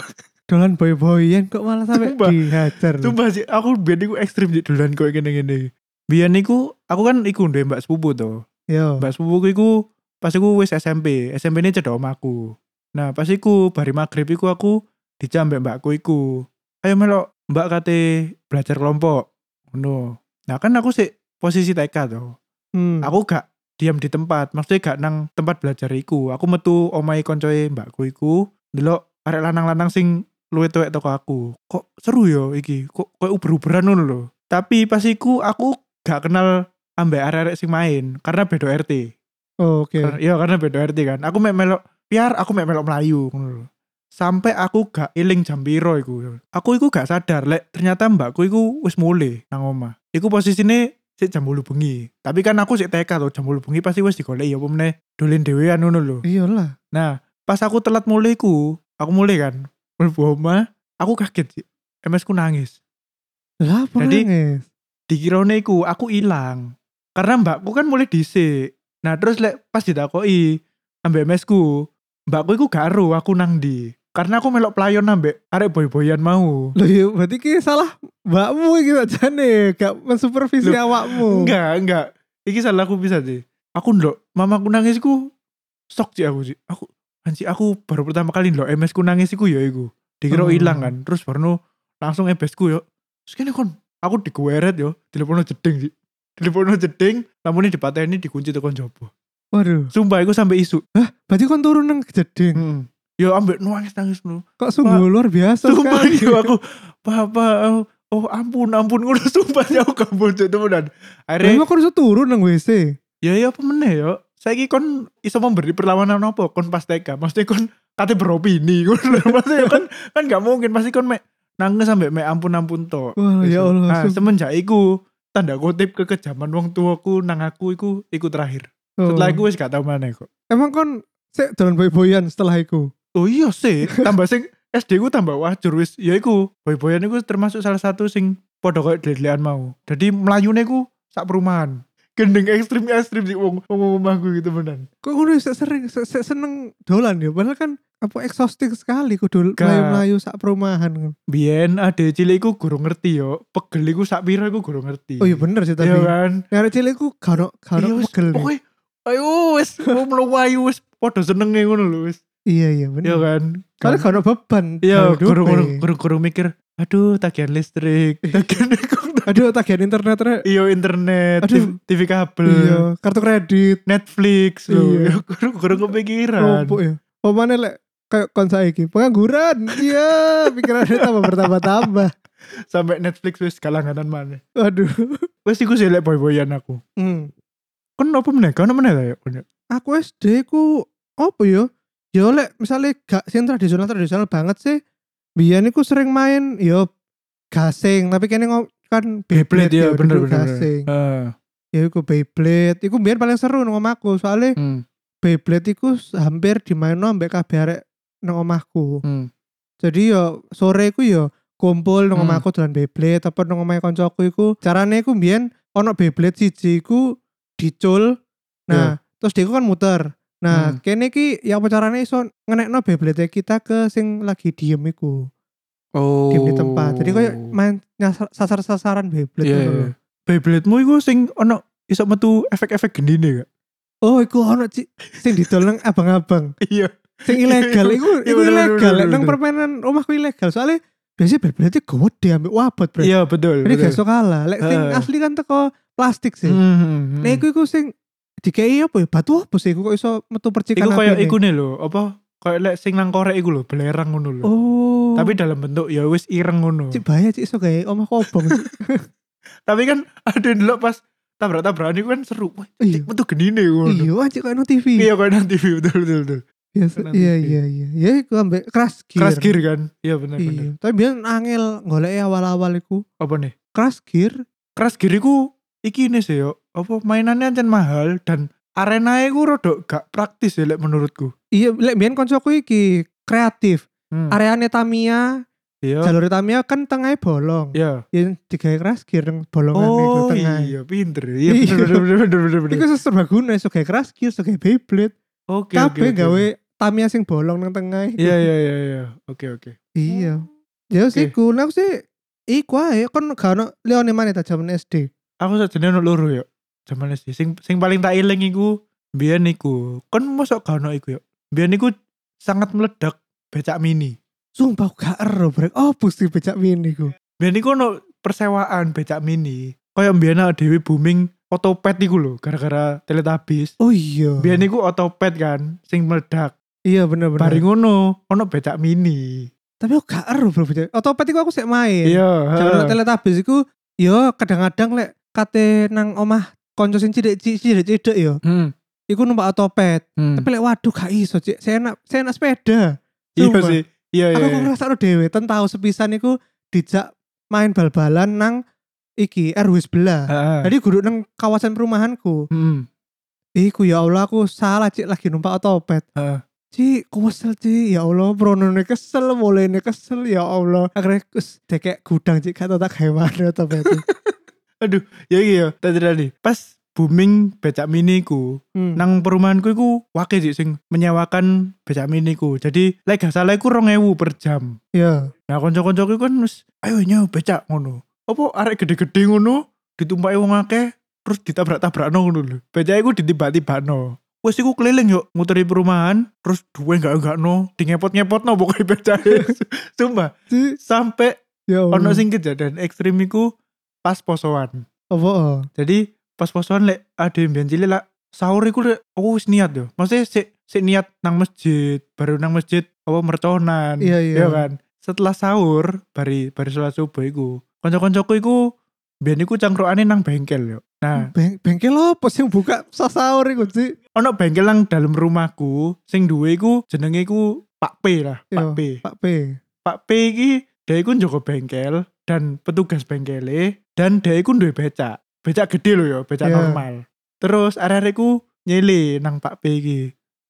Speaker 3: dolan boy-boyan kok malah sampai
Speaker 1: Sumpah.
Speaker 3: dihajar.
Speaker 1: Sumpah sih, aku biar niku ekstrim di dolan koyo ngene-ngene. Biar niku aku kan iku ndek mbak sepupu to.
Speaker 3: Yo.
Speaker 1: Mbak sepupuku iku pas iku wis SMP, SMP ini cedok omaku. Nah, pas iku bari magrib iku aku dijam mbak mbakku iku. Ayo melok, mbak kate belajar kelompok. Ngono. Nah, kan aku sih posisi TK to.
Speaker 3: Hmm.
Speaker 1: Aku gak diam di tempat, maksudnya gak nang tempat belajar iku. Aku metu omai koncoe mbakku iku, delok arek lanang-lanang sing luwe tuwek toko aku. Kok seru yo iki, kok koyo uber-uberan ngono lho. Tapi pas iku aku gak kenal ambek arek-arek sing main karena beda RT.
Speaker 3: Oh, oke.
Speaker 1: Karena- Iya karena beda RT kan. Aku mek melok piar, aku mek melok Melayu ngono lho. Sampai aku gak iling jam piro iku. Aku iku gak sadar lek ternyata mbakku iku wis mulai nang omah. Iku posisine sik jam 8 bengi. Tapi kan aku sik TK to jam 8 bengi pasti wis digoleki ya apa meneh dolen dhewean ngono lho.
Speaker 3: Iyalah.
Speaker 1: Nah, pas aku telat mulai ku, aku mulai kan. Mlebu omah, aku kaget sih. MS ku nangis.
Speaker 3: Lah apa e?
Speaker 1: Jadi-
Speaker 3: nangis?
Speaker 1: Dikirone iku aku ilang. Karena mbakku kan mulai dhisik. Nah, terus lek pas ditakoi ambek mesku, mbakku iku gak ero aku nang ndi. Karena aku melok playon ambek arek boy-boyan mau.
Speaker 3: Loh, iya, berarti ki salah mbakmu iki sajane, gak mensupervisi
Speaker 1: Loh,
Speaker 3: awakmu.
Speaker 1: Enggak, enggak. Iki salah aku bisa sih. Aku ndok, mamaku nangis ku stok sih aku sih. Aku anji aku baru pertama kali ndok MS ku nangis iku ya iku. Dikira
Speaker 3: Oh.
Speaker 1: hilang kan. Terus baru langsung MS ku yo. Terus kene kon aku digweret yo, dilepono jeding sih. Dilepono jeding, lamune dipateni dikunci tekan jaba.
Speaker 3: Waduh,
Speaker 1: Sumpah iku sampai isu.
Speaker 3: berarti kon turun nang jeding.
Speaker 1: Heeh. Yo ambek nangis nangis nu.
Speaker 3: Kok sungguh luar biasa
Speaker 1: Sumpah
Speaker 3: sekali.
Speaker 1: yo aku papa oh, oh ampun ampun ngono sumpah ya aku kabur temenan.
Speaker 3: Lah,
Speaker 1: Akhirnya
Speaker 3: emang aku harus turun nang WC.
Speaker 1: ya ya apa meneh yo saiki kon iso memberi perlawanan apa kon pas TK maksudnya kon kate beropini kon maksudnya kon kan gak mungkin pasti kon mek nangis sampe mek ampun ampun to
Speaker 3: Wah, ya Allah.
Speaker 1: nah,
Speaker 3: sumpah.
Speaker 1: semenjak iku tanda kutip kekejaman wong tuaku nang aku iku iku terakhir
Speaker 3: Oh.
Speaker 1: setelah iku wis gak tau maneh kok
Speaker 3: Emang kon sik dolan boy-boyan setelah iku.
Speaker 1: oh iya sih tambah sing SD ku tambah wajur wis ya iku boy-boyan iku termasuk salah satu sing padha koyo delian mau jadi melayune ku sak perumahan gendeng ekstrim ekstrim sih wong wong omahku gitu benan
Speaker 3: Kok ngono ya, sik sering sik sik seneng dolan ya padahal kan apa exhausting sekali kudu
Speaker 1: Gak.
Speaker 3: melayu-melayu sak perumahan.
Speaker 1: Biyen ade cilik iku gurung ngerti yo. Pegel iku sak pira iku gurung ngerti.
Speaker 3: Oh iya bener sih
Speaker 1: Iya
Speaker 3: tapi.
Speaker 1: kan?
Speaker 3: Arek cilik ku gak ono gak
Speaker 1: Iya
Speaker 3: ono
Speaker 1: wis.
Speaker 3: pegel. nih.
Speaker 1: Pokoke ayo wis mau melayu wis padha senenge ngono lho wis.
Speaker 3: Iya iya
Speaker 1: Iya
Speaker 3: bener.
Speaker 1: kan?
Speaker 3: Soalnya gak ono beban.
Speaker 1: Iya,
Speaker 3: dalam hidupnya.
Speaker 1: gurung gurung mikir, aduh tagihan listrik,
Speaker 3: Iya.
Speaker 1: tagihan iku-
Speaker 3: Aduh tagihan internet rek.
Speaker 1: Iya internet,
Speaker 3: Aduh.
Speaker 1: TV kabel,
Speaker 3: Iya, kartu kredit.
Speaker 1: Netflix lho.
Speaker 3: Iya.
Speaker 1: Iya. Gurung-gurung kepikiran.
Speaker 3: Opo ya. Pemane lek kayak kon saiki pengangguran. Iya, pikirannya tambah bertambah-tambah.
Speaker 1: Sampai Netflix wis kalanganan mana.
Speaker 3: Aduh.
Speaker 1: Wis iku sih lek boy-boyan aku.
Speaker 3: Hmm.
Speaker 1: Kon apa meneh? Kon meneh ta ya? Kon ya?
Speaker 3: aku SD ku apa yo yo lek misalnya gak sing tradisional tradisional banget sih biar niku sering main yo gasing tapi kene ngom- kan
Speaker 1: Beyblade ya
Speaker 3: yo,
Speaker 1: bener
Speaker 3: dulu
Speaker 1: bener. Ah,
Speaker 3: gasing
Speaker 1: Heeh.
Speaker 3: ya iku Beyblade iku biar paling seru nang omahku soalnya
Speaker 1: Hmm.
Speaker 3: Beyblade iku s- hampir dimainno ambek kabeh arek nang omahku
Speaker 1: hmm.
Speaker 3: jadi yo sore ku yo kumpul nang
Speaker 1: Hmm.
Speaker 3: omahku dolan Beyblade apa nang omahe koncoku iku carane iku biyen ono Beyblade siji iku dicul nah terus dia iku kan muter nah
Speaker 1: Ya. Hmm.
Speaker 3: kene iki ya apa carane iso ngenekno Beyblade kita ke sing lagi diem iku
Speaker 1: Oh.
Speaker 3: diem di tempat jadi koyo main nyasar- sasar-sasaran Beyblade
Speaker 1: Iya,
Speaker 3: gitu
Speaker 1: iya.
Speaker 3: loh.
Speaker 1: Beyblade-mu iku sing ono iso metu efek-efek gendine gak?
Speaker 3: oh iku ono ci- sing didol nang abang-abang
Speaker 1: Iya.
Speaker 3: sing ilegal iku
Speaker 1: Iya,
Speaker 3: iku
Speaker 1: bener,
Speaker 3: ilegal
Speaker 1: bener,
Speaker 3: lek nang
Speaker 1: bener.
Speaker 3: permainan omahku ilegal soalnya biasanya Beyblade gede ambek wabot bro
Speaker 1: Iya betul.
Speaker 3: Jadi
Speaker 1: betul.
Speaker 3: gak iso kalah. Lek sing
Speaker 1: Heeh.
Speaker 3: asli kan teko plastik sih.
Speaker 1: Hmm, hmm, hmm.
Speaker 3: Nah, iku iku sing dikei apa ya? Batu apa sih? Iku kok iso metu percikan
Speaker 1: iku koyo
Speaker 3: api ini?
Speaker 1: iku nih lho, apa? Koyo lek sing nang korek iku lho, belerang ngono lho.
Speaker 3: Oh.
Speaker 1: Tapi dalam bentuk ya wis ireng ngono.
Speaker 3: cik bahaya cik iso gawe omah kobong.
Speaker 1: Tapi kan ada yang dulu pas tabrak-tabrakan itu kan seru. Wah,
Speaker 3: Iya.
Speaker 1: itu geni nih.
Speaker 3: Iya, anjir kayak no TV.
Speaker 1: Iya kan nanti view betul betul betul.
Speaker 3: Biasa.
Speaker 1: kayak no
Speaker 3: Iya,
Speaker 1: TV.
Speaker 3: iya, iya. Ya iku ambek crash gear.
Speaker 1: Keras gear kan? Iya benar benar.
Speaker 3: Iya. Tapi biar angel golek awal-awal iku.
Speaker 1: Apa nih?
Speaker 3: Crash gear.
Speaker 1: Keras gear iku iki nih sih yo. Apa mainannya ancen mahal dan arena iku rodok gak praktis ya lek menurutku.
Speaker 3: Iya, lek biyen koncoku iki kreatif.
Speaker 1: Hmm.
Speaker 3: Areane Tamiya,
Speaker 1: Iya.
Speaker 3: jalur Tamiya kan tengahnya bolong.
Speaker 1: Iya.
Speaker 3: Ya digawe crash gear nang bolongan
Speaker 1: Oh
Speaker 3: iku tengah.
Speaker 1: iya pinter. Iya
Speaker 3: Iya.
Speaker 1: bener bener bener bener bener.
Speaker 3: Iku serbaguna iso gawe crash gear, iso gawe Beyblade.
Speaker 1: Oke oke.
Speaker 3: Kabeh
Speaker 1: oke.
Speaker 3: gawe Tamiya sing bolong nang tengah.
Speaker 1: Iya iya iya iya. Oke oke.
Speaker 3: Iya. Ya sih
Speaker 1: Oke.
Speaker 3: iku, Nah, aku sih iku ae kon gak ono leone maneh ta jaman SD.
Speaker 1: Aku sajane ono loro yo. Zaman SD sing sing paling tak eling iku biyen iku. Kon mosok gak ono iku yo. Biyen iku sangat meledak becak mini.
Speaker 3: Sumpah aku gak ero brek. Opo sih becak mini iku?
Speaker 1: Biyen iku ono persewaan becak mini. Kayak biyen awake dhewe booming otopet iku lho gara-gara Teletubbies.
Speaker 3: Oh iya.
Speaker 1: Biyen iku otopet kan sing meledak.
Speaker 3: Iya bener-bener.
Speaker 1: Bari ngono ono becak mini.
Speaker 3: Tapi aku gak ero bro becak. Otopet iku aku sik main.
Speaker 1: Iya.
Speaker 3: Jaman
Speaker 1: heeh.
Speaker 3: teletabis iku yo kadang-kadang lek kate nang omah konco sing cilik-cilik yo.
Speaker 1: Hmm,
Speaker 3: Iku numpak otopet.
Speaker 1: hmm.
Speaker 3: Tapi lek waduh gak iso, Cik. Saya enak, saya enak sepeda.
Speaker 1: Iya
Speaker 3: Sumpah.
Speaker 1: sih. Iya iya.
Speaker 3: Aku
Speaker 1: iya.
Speaker 3: kok ngrasakno dhewe ten tau sepisan iku dijak main bal-balan nang iki RW sebelah.
Speaker 1: Heeh.
Speaker 3: Jadi guru nang kawasan perumahanku.
Speaker 1: Hmm.
Speaker 3: Iku ya Allah aku salah cik lagi numpak otopet.
Speaker 1: Heeh.
Speaker 3: Cik, aku kesel cik. Ya Allah, pronone kesel, mulainya kesel ya Allah. Akhirnya kus dekek gudang cik, kata tak kayak mana otopet.
Speaker 1: Aduh, ya iya, tadi tadi. Pas booming becak mini ku,
Speaker 3: hmm.
Speaker 1: nang perumahanku iku wakil sih sing menyewakan becak mini ku. Jadi lek gak salah iku 2000 per jam.
Speaker 3: ya.
Speaker 1: Nah, kanca-kancaku kan wis ayo nyewa becak ngono. Apa arek gede-gede ngono ditumpaki wong akeh terus ditabrak-tabrakno ngono lho. Becak iku ditiba-tibakno. Wes iku keliling yuk nguteri perumahan terus duwe gak gak no di ngepot ngepot no pokoknya becak sumpah
Speaker 3: Cik,
Speaker 1: sampai
Speaker 3: ya Allah.
Speaker 1: ono sing kejadian ekstrim iku pas posoan
Speaker 3: Apa? Oh.
Speaker 1: Jadi pas posoan lek ada yang biyen cilik lah sahur iku lek aku wis niat yo. Maksudnya sik sik niat nang masjid, baru nang masjid apa merconan.
Speaker 3: Iya, iya.
Speaker 1: kan. Setelah sahur bari bari sholat subuh iku. Kanca-kancaku iku biyen iku cangkrukane nang bengkel yo. Nah,
Speaker 3: Beng bengkel apa sih yang buka sasaur iku cik?
Speaker 1: ono bengkel nang dalam rumahku sing duwe iku jenenge iku Pak P lah, Pak
Speaker 3: Iya.
Speaker 1: P.
Speaker 3: Pak P.
Speaker 1: Pak P iki dia iku njogo bengkel dan petugas bengkele dan dia iku duwe becak. Becak gede loh ya, becak
Speaker 3: Iya.
Speaker 1: normal. Terus arek ku nyele nang Pak P iki.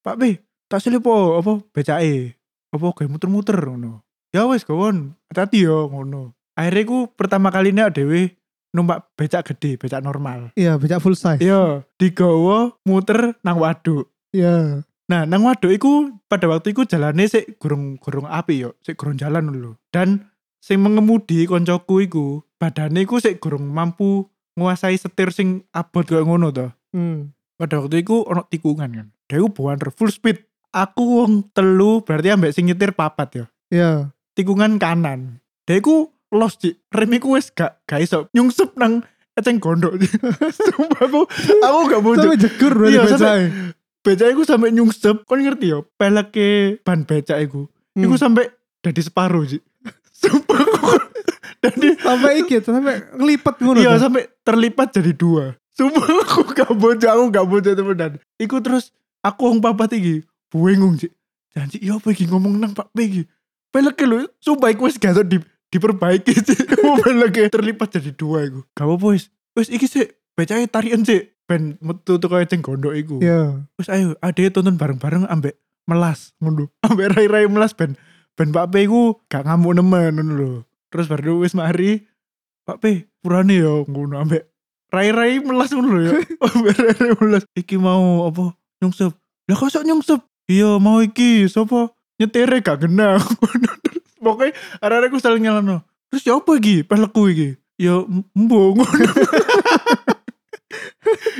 Speaker 1: Pak P, tak silip po apa becake. Apa gawe muter-muter ngono. Ya wis gawon, hati-hati yo ngono. Akhirnya ku pertama kalinya dhewe numpak becak gede, becak normal.
Speaker 3: Iya, becak full size.
Speaker 1: Yo, digawa muter nang waduk.
Speaker 3: Iya.
Speaker 1: Nah, nang waduk iku pada waktu iku jalane sik gurung-gurung api yo, sik gurung jalan dulu. Dan sing mengemudi koncoku iku, badane iku sik gurung mampu nguasai setir sing abot koyo ngono to.
Speaker 3: Hmm.
Speaker 1: Pada waktu iku ono tikungan kan. Dia iku buanter full speed. Aku wong telu berarti ambek sing nyetir papat yo.
Speaker 3: Iya.
Speaker 1: Tikungan kanan. Dia iku los cik, rem iku wis gak gak iso nyungsup nang eceng gondok. Sumpah aku aku gak bojo.
Speaker 3: Sampai jegur berarti
Speaker 1: Iya,
Speaker 3: becaknya.
Speaker 1: becak iku sampe nyungsep kon ngerti yo peleke ban becak iku
Speaker 3: Hmm.
Speaker 1: iku sampe dadi separuh sih sumpah kok dadi
Speaker 3: sampai iki ya, sampai ngelipet ngono.
Speaker 1: iya
Speaker 3: tuh.
Speaker 1: sampe terlipat jadi dua sumpah aku gak bojo aku gak bojo temenan iku terus aku wong papat iki buengung sih janji iya apa iki ngomong nang Pak P iki peleke lho sumpah iku wis gak iso di, diperbaiki sih peleke terlipat jadi dua iku gak apa wis wis iki sih becake tarian sih ben metu tuh ceng gondok iku
Speaker 3: Iya.
Speaker 1: terus ayo ade tonton bareng-bareng ambek melas ngono ambek rai-rai melas ben ben Pak P ku gak ngamuk nemen ngono lho terus baru wis mari Pak P purane yo ngono ambek rai-rai melas ngono lho yo ambek rai-rai melas iki mau apa nyungsep lah kok sok nyungsep iya mau iki sapa nyetere gak kena Ngono. Terus pokoknya arek-arek ku saling nyalano terus ya apa iki pelekku iki ya mbok ngono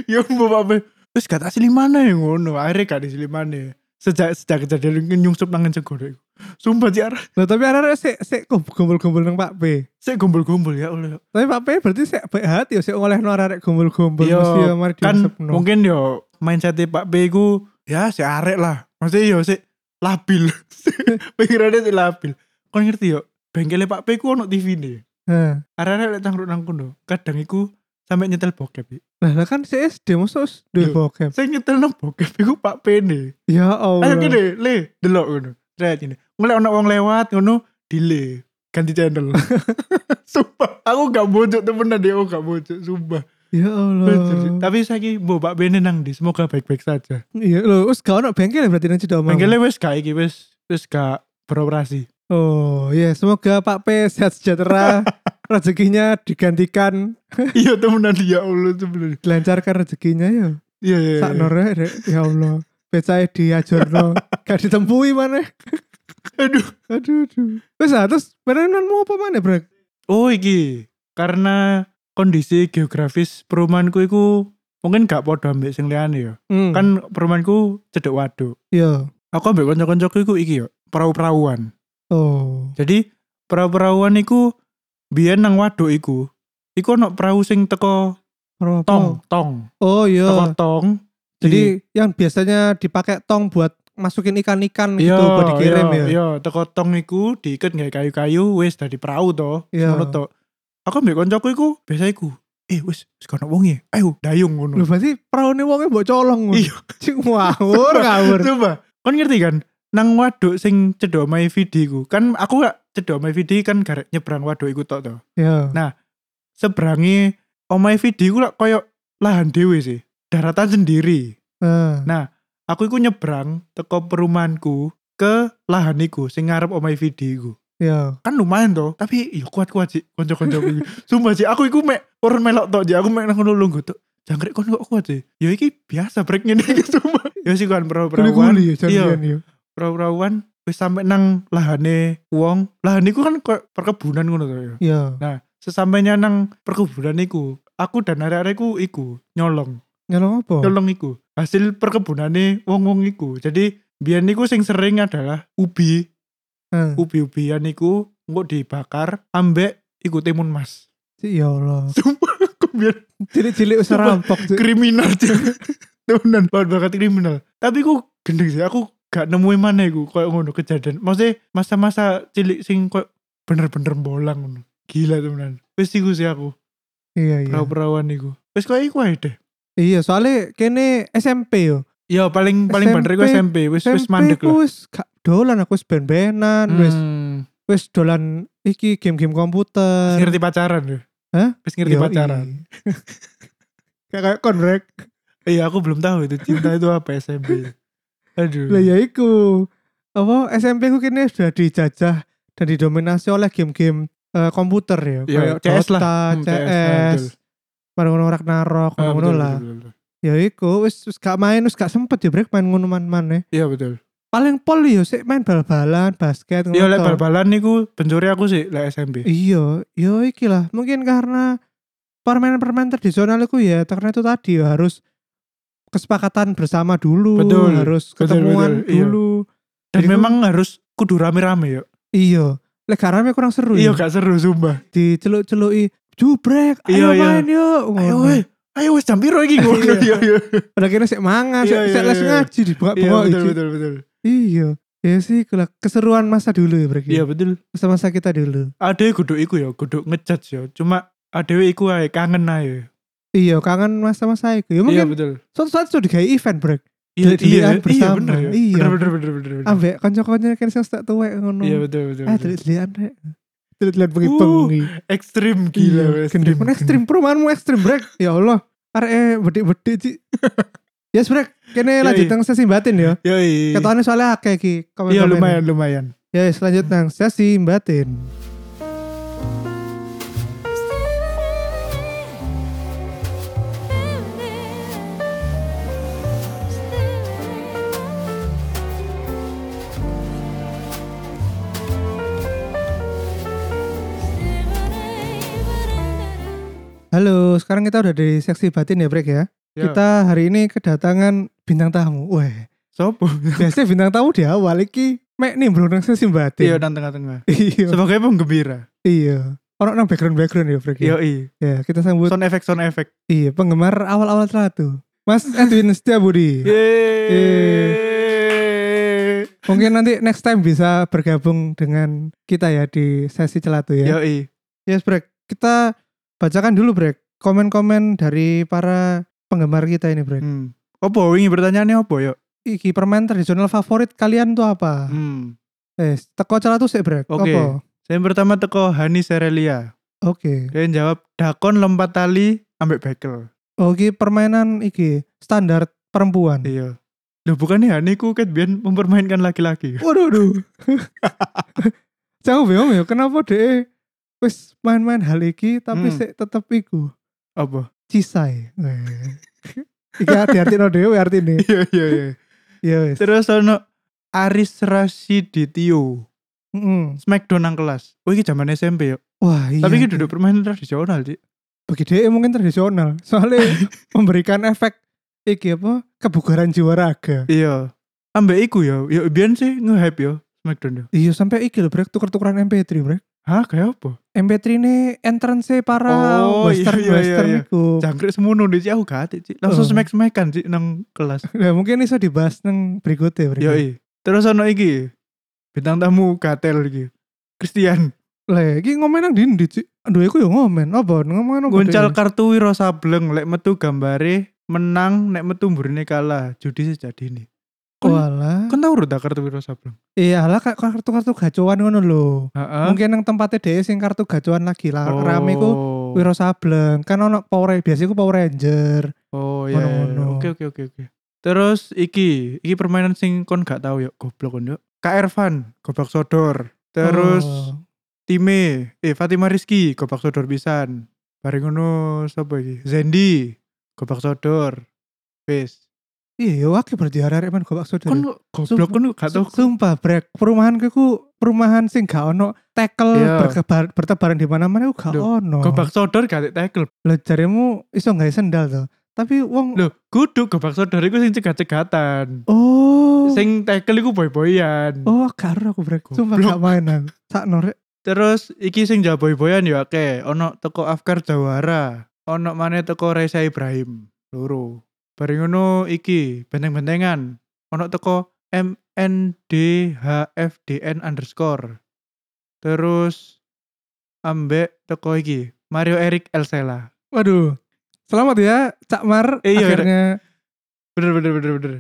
Speaker 1: ya mbok Pak P terus gak tak mana ya ngono akhirnya gak di mana sejak sejak kejadian ini nyungsep nang eceng gondok iku. sumpah sih arah
Speaker 3: Nah, tapi arek-arek sik sik gombol-gombol nang Pak P.
Speaker 1: saya gombol-gombol ya Allah
Speaker 3: Tapi Pak P berarti sik baik hati ya sik olehno arek gombol-gombol
Speaker 1: Iya,
Speaker 3: mesti ya mari
Speaker 1: kan
Speaker 3: diusapno.
Speaker 1: mungkin yo mindset Pak B ku ya si arek lah maksudnya yo si labil pikirannya si labil kau ngerti yo bengkelnya Pak B ku ono TV nih
Speaker 3: Nah,
Speaker 1: arek-arek lek cangkruk nang kono kadang iku sampai nyetel bokep. Bi.
Speaker 3: Lah lah kan CSD musuh duwe
Speaker 1: Yo.
Speaker 3: bokep.
Speaker 1: Saya nyetel nang bokep iku Pak Pene.
Speaker 3: Ya
Speaker 1: Ayo
Speaker 3: Allah.
Speaker 1: gini, Eh, le, delok ngono. Lihat ini. Mulai ono wong lewat ngono, dile. Ganti channel. sumpah, aku gak bocok temenan dia, aku gak bocok, sumpah.
Speaker 3: Ya Allah.
Speaker 1: Tapi saiki mbok Pak Pene nang ndi? Semoga baik-baik saja.
Speaker 3: Iya lho, wis gak ono bengkel ya berarti nang Cedok Omong.
Speaker 1: Manggilnya wis gak iki wis wis gak beroperasi.
Speaker 3: Oh, ya semoga Pak P sehat sejahtera, rezekinya digantikan,
Speaker 1: Iya temenan ya Allah sebenarnya.
Speaker 3: dilancarkan rezekinya ya.
Speaker 1: Iya iya.
Speaker 3: Sak
Speaker 1: iya.
Speaker 3: nore Rek. ya Allah. Becae diajurno, gak ditempui mana.
Speaker 1: Aduh.
Speaker 3: Aduh aduh. Wis ah, terus mau apa mana, Brek?
Speaker 1: Oh iki karena kondisi geografis perumahanku iku mungkin gak podo ambek sing liyane ya.
Speaker 3: Hmm.
Speaker 1: Kan perumahanku cedek waduk.
Speaker 3: yo.
Speaker 1: Aku ambek kanca-kancaku iku iki yo, perahu-perahuan.
Speaker 3: Oh.
Speaker 1: Jadi perahu-perahuan iku biyen nang waduk iku iku ono perahu sing teko
Speaker 3: Apa?
Speaker 1: tong, tong,
Speaker 3: Oh
Speaker 1: teko
Speaker 3: iya.
Speaker 1: tong. di-
Speaker 3: Jadi yang biasanya dipakai tong buat masukin ikan-ikan gitu
Speaker 1: Iya,
Speaker 3: buat dikirim
Speaker 1: iya,
Speaker 3: ya.
Speaker 1: Iya, teko tong iku diiket nggae kayu-kayu wis dadi perahu to.
Speaker 3: Iya.
Speaker 1: Ngono to. Aku mbek kancaku iku biasa iku. Eh wis wis kono wong e. Ayo dayung ngono.
Speaker 3: Lho berarti praune wonge mbok colong.
Speaker 1: Iya.
Speaker 3: Cing ngawur ngawur.
Speaker 1: Coba, kon ngerti kan? Nang waduk sing cedok my vidi ku. Kan aku gak cedok my vidi kan garek nyebrang waduk iku tok to.
Speaker 3: Iya.
Speaker 1: Seberangi omai vidi ku lak koyo lahan dhewe sih. Daratan sendiri.
Speaker 3: Heeh.
Speaker 1: Aku iku nyebrang teko perumahanku ke lahan iku sing ngarep omai vidi iku.
Speaker 3: Iya.
Speaker 1: kan lumayan toh tapi iya kuat-kuat sih konco-konco iki. sumpah sih aku iku mek orang melok toh sih aku mek nang ngono lungguh tuh jangkrik kon kok kuat sih ya iki biasa break ngene iki sumpah ya sih kan perawan
Speaker 3: Guli-guli ya
Speaker 1: Iya.
Speaker 3: janjian ya.
Speaker 1: perawan wis sampe nang lahane wong lahan iku kan kayak perkebunan ngono toh ya
Speaker 3: Iya.
Speaker 1: nah sesampainya nang perkebunan iku aku dan arek-arekku iku nyolong
Speaker 3: Nyolong apa?
Speaker 1: nyolong iku hasil perkebunane wong-wong iku jadi biyen niku sing sering adalah ubi
Speaker 3: Heeh.
Speaker 1: ubi-ubian iku engko dibakar ambek iku timun mas.
Speaker 3: Ya Allah.
Speaker 1: Sumpah aku biar
Speaker 3: Cilik-cilik wis
Speaker 1: Sumpah.
Speaker 3: rampok. Cik.
Speaker 1: kriminal Cuk. temenan banget banget kriminal. Tapi aku gendeng sih aku gak nemuin mana iku koyo ngono kejadian. Maksudnya masa-masa cilik sing koyo bener-bener bolang ngono. Gila temenan. Wis iku sih aku,
Speaker 3: Iya iya.
Speaker 1: perawan iku. Wis koyo iku ae deh.
Speaker 3: Iya, soalnya kene SMP yo.
Speaker 1: Ya paling paling
Speaker 3: SMP,
Speaker 1: bener iku SMP, wis wis
Speaker 3: SMP
Speaker 1: mandek lah.
Speaker 3: ku wis gak dolan aku wis ben-benan, wis
Speaker 1: Hmm,
Speaker 3: wis dolan iki game-game
Speaker 1: wis
Speaker 3: komputer.
Speaker 1: ngerti pacaran ya.
Speaker 3: Hah?
Speaker 1: Wis ngerti
Speaker 3: Yoi.
Speaker 1: pacaran.
Speaker 3: Kayak kayak konrek.
Speaker 1: Iya, aku belum tahu itu cinta itu apa SMP. Aduh.
Speaker 3: Lah ya iku. Apa SMP ku kene sudah dijajah dan didominasi oleh game-game eh, komputer ya,
Speaker 1: Iya,
Speaker 3: kayak
Speaker 1: CS lah.
Speaker 3: Dota,
Speaker 1: Hmm, CS,
Speaker 3: CS,
Speaker 1: betul.
Speaker 3: Mari ngono Ragnarok,
Speaker 1: Ah,
Speaker 3: ngono
Speaker 1: betul,
Speaker 3: lah.
Speaker 1: betul, betul, betul.
Speaker 3: Ya iku wis wis gak main, wis gak sempet ya brek main ngono man-man
Speaker 1: Iya betul.
Speaker 3: Paling pol yo sik main bal-balan, basket ngono.
Speaker 1: Iya lek
Speaker 3: to.
Speaker 1: bal-balan niku pencuri aku sih lek SMP.
Speaker 3: Iya, yo iki lah. Mungkin karena permainan-permainan tradisional itu ya karena itu tadi ya, harus kesepakatan bersama dulu,
Speaker 1: Betul,
Speaker 3: harus
Speaker 1: betul,
Speaker 3: ketemuan
Speaker 1: betul, iya.
Speaker 3: dulu.
Speaker 1: Dan
Speaker 3: Jadi ku-
Speaker 1: memang harus kudu rame-rame ya.
Speaker 3: Iya. Legarannya kurang seru
Speaker 1: Iya
Speaker 3: ya.
Speaker 1: gak seru sumpah.
Speaker 3: Diceluk-celuki, "Jubrek,
Speaker 1: Iya, iya.
Speaker 3: ayo main yuk."
Speaker 1: Ayo weh, ayo wes jam piro iki ngono.
Speaker 3: Iya.
Speaker 1: Iya iya.
Speaker 3: Padahal kira sik mangan, sik
Speaker 1: Iya, iya,
Speaker 3: sik les
Speaker 1: iya.
Speaker 3: ngaji
Speaker 1: Iya
Speaker 3: dibuka-buka
Speaker 1: betul
Speaker 3: iki.
Speaker 1: betul betul.
Speaker 3: Iya. Ya sih itulah keseruan masa dulu ya, Brek.
Speaker 1: Iya betul.
Speaker 3: Masa-masa kita dulu.
Speaker 1: Ade kudu iku ya, kudu ngejat ya. Cuma ade iku ae kangen ae.
Speaker 3: Iya, kangen masa-masa itu.
Speaker 1: Iya
Speaker 3: Ya mungkin
Speaker 1: betul.
Speaker 3: suatu saat sudah kayak event, Brek.
Speaker 1: Iya iya
Speaker 3: Delik-delikan
Speaker 1: iya
Speaker 3: bersama.
Speaker 1: bener ya.
Speaker 3: Iya.
Speaker 1: Bener bener bener bener. bener.
Speaker 3: Ambek kanca-kanca kan sing tak tuwek ngono.
Speaker 1: Iya betul betul.
Speaker 3: Ah,
Speaker 1: betul.
Speaker 3: delik-delikan rek. Delik-delikan bengi
Speaker 1: Uh,
Speaker 3: bengi.
Speaker 1: Ekstrim gila
Speaker 3: Iya, gendeng. Mana ekstrim perumahanmu ekstrim brek. Ya Allah. Arek eh, bedik-bedik Ci. Yes brek, kene
Speaker 1: Yoi.
Speaker 3: lanjut nang sesi batin ya.
Speaker 1: Yo iya.
Speaker 3: Ketone soalnya akeh iki. komen-komen.
Speaker 1: Iya lumayan lumayan.
Speaker 3: Ya, yes, lanjut nang sesi batin. Halo, sekarang kita udah di seksi batin ya brek ya.
Speaker 1: Yo.
Speaker 3: Kita hari ini kedatangan bintang tamu. Weh,
Speaker 1: sopo?
Speaker 3: biasanya bintang tamu di awal iki mek nih bro nang sesi
Speaker 1: Iya
Speaker 3: batin.
Speaker 1: dan tengah-tengah.
Speaker 3: Iya.
Speaker 1: Sebagai penggembira.
Speaker 3: Iya. Orang nang background-background ya brek. ya.
Speaker 1: Yo iya.
Speaker 3: Ya, kita sambut
Speaker 1: Sound effect sound effect.
Speaker 3: iya penggemar awal-awal Tratu. Mas Edwin Setiabudi.
Speaker 1: Yeay.
Speaker 3: Mungkin nanti next time bisa bergabung dengan kita ya di sesi celatu ya.
Speaker 1: Yoi.
Speaker 3: Yes, Brek. Kita bacakan dulu, Brek. komen-komen dari para penggemar kita ini bro.
Speaker 1: Hmm. Opo wingi pertanyaannya opo yo?
Speaker 3: Iki permen tradisional favorit kalian tuh apa?
Speaker 1: Hmm.
Speaker 3: Eh, teko cara tuh sih bro.
Speaker 1: Oke.
Speaker 3: Apa?
Speaker 1: Yang pertama teko Hani Serelia.
Speaker 3: Oke.
Speaker 1: Dia yang jawab dakon lompat tali ambek bekel.
Speaker 3: Oh, iki permainan iki standar perempuan.
Speaker 1: Iya. Loh bukannya Hani ku ket biyen mempermainkan laki-laki.
Speaker 3: Waduh, waduh. Jauh bingung ya, kenapa deh wis main-main hal iki tapi
Speaker 1: Hmm.
Speaker 3: sik tetep iku
Speaker 1: Apa?
Speaker 3: cisai. Eh. iki hati-hati no dhewe artine.
Speaker 1: Iya iya iya.
Speaker 3: Ya wis.
Speaker 1: Terus ono Aris Rasiditio.
Speaker 3: Mm-mm.
Speaker 1: Smackdown nang kelas. Oh iki zaman SMP yo.
Speaker 3: Wah, iya.
Speaker 1: Tapi iki duduk permainan tradisional, Dik.
Speaker 3: bagi dhewe mungkin tradisional. Soalnya memberikan efek iki apa? kebugaran jiwa raga.
Speaker 1: Iya. Ambek iku yo. Yo biyen sih nge-hype yo Smackdown yo.
Speaker 3: Iya sampai iki lho brek tuker-tukeran MP3 brek.
Speaker 1: Hah, kayak apa?
Speaker 3: MP3 ini entrance para
Speaker 1: Oh, iya,
Speaker 3: western
Speaker 1: iya, iya,
Speaker 3: western
Speaker 1: iya.
Speaker 3: iku.
Speaker 1: Jangkrik semono Dik, Cik. aku gak ati, Cik. Langsung
Speaker 3: Oh.
Speaker 1: smack-smackan Cik nang kelas.
Speaker 3: Nah, mungkin iso dibahas neng berikutnya berarti.
Speaker 1: Yoi. Terus ono iki. Bintang tamu Gatel iki. Christian
Speaker 3: Lah, iki ngomen nang ndi ndi, Cik? Aduh, aku yo ngomen. Apa ngomen apa?
Speaker 1: goncal
Speaker 3: deh?
Speaker 1: kartu wiro sableng lek metu gambare menang nek metu mburine kalah. Judi sejadi ini.
Speaker 3: Walah.
Speaker 1: Kan tau udah kartu wiro sableng.
Speaker 3: Iya lah kayak kartu-kartu gacuan ngono lho.
Speaker 1: Heeh.
Speaker 3: Mungkin nang tempatnya dhewe sing kartu gacuan lagi lah.
Speaker 1: Oh.
Speaker 3: Rame ku Wiro Sableng. Kan ono Power Ranger, biasa ku Power Ranger.
Speaker 1: Oh iya. iya, iya.
Speaker 3: Ngono-ngono.
Speaker 1: Oke oke oke oke. Terus iki, iki permainan sing kon gak tau yuk goblok kon yuk. Kak Ervan, gobak sodor. Terus
Speaker 3: Oh.
Speaker 1: Time, eh Fatimah Rizky, gobak sodor pisan. Bareng ngono sapa iki? Zendi, gobak sodor. Wis.
Speaker 3: Iya, yo akeh berarti arek-arek men gobak sodor.
Speaker 1: Kon goblok kon gak tau.
Speaker 3: Su- Sumpah brek, perumahan ku perumahan sing gak ono tackle
Speaker 1: Iya.
Speaker 3: berkebar, bertebaran di mana-mana ku gak
Speaker 1: Duh,
Speaker 3: ono.
Speaker 1: Gobak sodor gak tackle.
Speaker 3: Lah jaremu iso gawe sendal to. Tapi wong
Speaker 1: Loh, kudu gobak sodor iku sing cegat-cegatan.
Speaker 3: Oh.
Speaker 1: Sing tackle iku boy-boyan.
Speaker 3: Oh, karo aku brek. Sumpah
Speaker 1: Goblok.
Speaker 3: gak main aku. Sak norek.
Speaker 1: Terus iki sing jawab boy-boyan ya akeh. Ono teko Afkar Jawara, ono maneh teko Reza Ibrahim, loro. Bareng ngono iki benteng-bentengan. Ono teko MNDHFDN underscore. Terus ambek teko iki Mario Erik Elsela.
Speaker 3: Waduh. Selamat ya Cak Mar
Speaker 1: Iya,
Speaker 3: akhirnya
Speaker 1: Bener bener bener bener.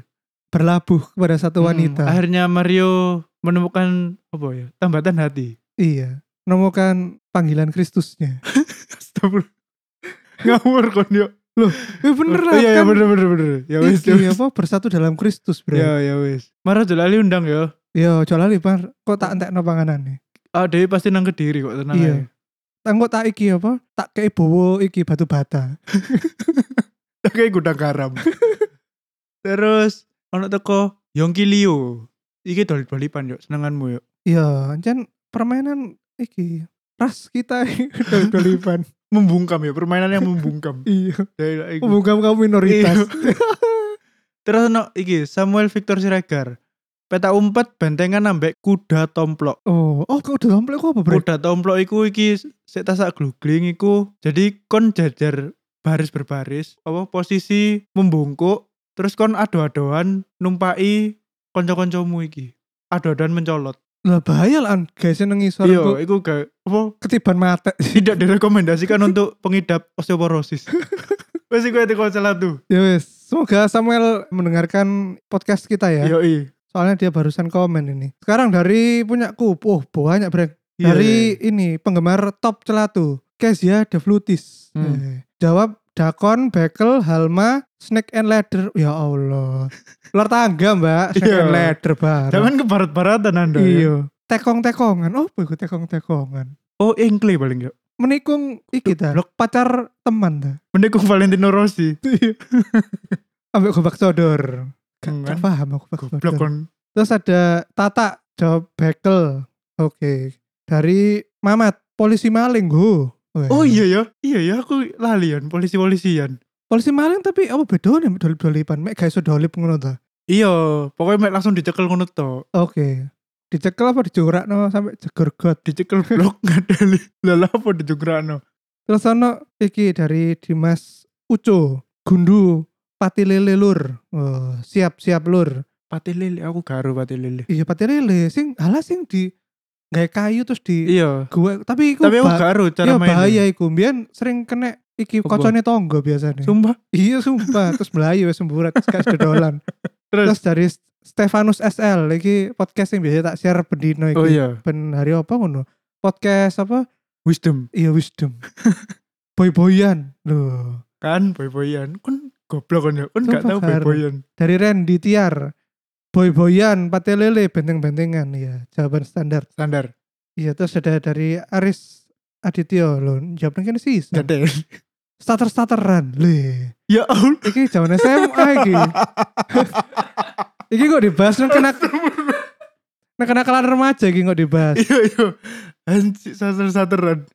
Speaker 3: berlabuh kepada satu wanita.
Speaker 1: Hmm, akhirnya Mario menemukan apa ya? Tambatan hati.
Speaker 3: Iya. Menemukan panggilan Kristusnya.
Speaker 1: Astagfirullah. Ngawur kon yo.
Speaker 3: Eh bener lah
Speaker 1: Oh, Iya iya
Speaker 3: kan. Iya,
Speaker 1: bener bener bener. Ya wis ya
Speaker 3: Iki,
Speaker 1: wis.
Speaker 3: apa bersatu dalam Kristus, Bro. Iya,
Speaker 1: Ya ya wis. Marah Jalali undang ya.
Speaker 3: Yo, jualan Mar. Kok tak entekno panganane?
Speaker 1: Ah Dewi pasti nang kediri kok tenang.
Speaker 3: Iya.
Speaker 1: ae.
Speaker 3: Tanggo tak iki apa? Tak kei bowo iki batu bata.
Speaker 1: Tak kayak gudang garam. Terus ono teko Yongki Leo. Iki dolip-dolipan yo senenganmu yo.
Speaker 3: Iya, ancen permainan iki ras kita doliban.
Speaker 1: Membungkam ya permainan yang membungkam.
Speaker 3: iya,
Speaker 1: Ya, iku.
Speaker 3: bukan kamu minoritas.
Speaker 1: Iya. Terus ono iki Samuel Victor Siregar. Peta umpet bentengan ambek kuda tomplok.
Speaker 3: oh, oh kok udah lomplek kok apa, Bro?
Speaker 1: Kuda tomplok iku iki sik tasak glugling iku. Jadi kon jajar baris berbaris apa posisi membungkuk terus kon ado-adoan numpai kanca-kancamu iki. Ado-adoan mencolot.
Speaker 3: Lah bahaya lah guys nang ngisor iku
Speaker 1: Iya, iku gak apa
Speaker 3: ketiban mata.
Speaker 1: tidak direkomendasikan untuk pengidap osteoporosis. Wes iku ate salah tuh.
Speaker 3: ya wes, semoga Samuel mendengarkan podcast kita ya.
Speaker 1: Yoi.
Speaker 3: Soalnya dia barusan komen ini. Sekarang dari punyaku, oh banyak brek.
Speaker 1: Iya.
Speaker 3: Dari ini penggemar top celatu, Kezia Devlutis.
Speaker 1: Hmm.
Speaker 3: Eh, jawab Dakon, Bekel, Halma, Snake and Ladder. Ya Allah. Luar tangga, Mbak. Snake
Speaker 1: Iya.
Speaker 3: and Ladder, bareng.
Speaker 1: Jangan ke barat-baratan Anda. ya.
Speaker 3: Iya. Tekong-tekongan. Oh, iku tekong-tekongan.
Speaker 1: Oh, engkle paling ya.
Speaker 3: Menikung iki ta.
Speaker 1: Blok.
Speaker 3: Pacar teman ta.
Speaker 1: Mendekung Valentino Rossi.
Speaker 3: Ambek gobak sodor. Gak,
Speaker 1: Enggak.
Speaker 3: gak paham aku gobak
Speaker 1: Goblok
Speaker 3: sodor.
Speaker 1: kon.
Speaker 3: Terus ada Tata jawab bekel. Oke. Dari Mamat polisi maling ho. Weh.
Speaker 1: Oh iya ya, iya ya aku lalian polisi-polisian.
Speaker 3: Polisi maling tapi apa bedone mek dolip-dolipan? Mek gak iso dolip ngono ta.
Speaker 1: Iya, pokoknya mek langsung dicekel ngono to.
Speaker 3: Oke. Dicekel apa dijorakno sampai jeger got.
Speaker 1: Dicekel blok ngadali. Lah lah apa dijograno?
Speaker 3: Terus ono iki dari Dimas Uco Gundu Pati lele lur. Oh, siap siap lur.
Speaker 1: Pati lele, aku garu pati lele.
Speaker 3: Iya pati lele sing alah sing di gawe kayu terus di
Speaker 1: Iya,
Speaker 3: gua tapi iku
Speaker 1: tapi aku
Speaker 3: ba-
Speaker 1: garu cara
Speaker 3: iya,
Speaker 1: mainnya.
Speaker 3: bahaya iku. Mbiyen sering kena iki
Speaker 1: Apa?
Speaker 3: kocone tonggo biasanya
Speaker 1: Sumpah.
Speaker 3: iya sumpah terus melayu wes semburat terus gak sedodolan
Speaker 1: Terus?
Speaker 3: terus dari Stefanus SL iki podcast yang biasa tak share bendino iki
Speaker 1: Oh iya,
Speaker 3: ben hari apa ngono podcast apa
Speaker 1: wisdom
Speaker 3: iya wisdom boy-boyan loh
Speaker 1: kan boy-boyan. Kan goblok kan ya. Kan gak
Speaker 3: Sumpah,
Speaker 1: tahu
Speaker 3: Kar.
Speaker 1: boy-boyan.
Speaker 3: dari Randy Tiar boy-boyan pate lele benteng-bentengan ya jawaban standar
Speaker 1: Standar.
Speaker 3: iya terus ada dari Aris Adityo loh jawaban kan sih
Speaker 1: Jadel.
Speaker 3: starter starteran le
Speaker 1: Ya Allah.
Speaker 3: iki jaman SMA iki iki kok dibahas nang kena nang kenakalan remaja iki kok dibahas
Speaker 1: Iya iya. Anjir sater-sateran.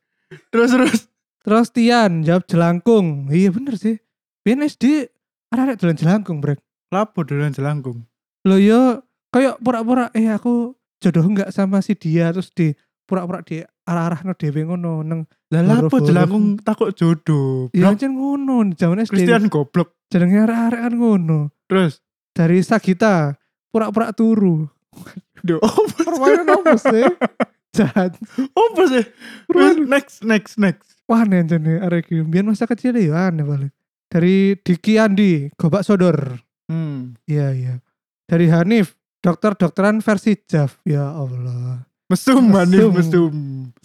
Speaker 1: Terus terus.
Speaker 3: terus Tian jawab jelangkung iya bener sih BNSD ada-ada jalan jelangkung brek
Speaker 1: Lapo dolan jelangkung.
Speaker 3: lo yo kayak pura-pura eh aku jodoh nggak sama si dia terus di pura-pura di arah-arah no dewe ngono neng
Speaker 1: Lah lapo
Speaker 3: Huruf-huruf.
Speaker 1: jelangkung takut jodoh.
Speaker 3: ya
Speaker 1: Blok
Speaker 3: jen ngono jaman SD
Speaker 1: Christian goblok.
Speaker 3: jenenge arah-arah kan ngono
Speaker 1: Terus.
Speaker 3: dari Sagita pura-pura turu
Speaker 1: Duh, apa
Speaker 3: permainan apa sih jahat
Speaker 1: apa sih?
Speaker 3: Permainan.
Speaker 1: Next next next.
Speaker 3: wah nih jane arek iki biyen masa kecil ya aneh balik dari Diki Andi gobak sodor
Speaker 1: Hmm.
Speaker 3: iya iya dari Hanif dokter-dokteran versi Jav ya Allah
Speaker 1: Mesum manis
Speaker 3: Mesum.
Speaker 1: mesum.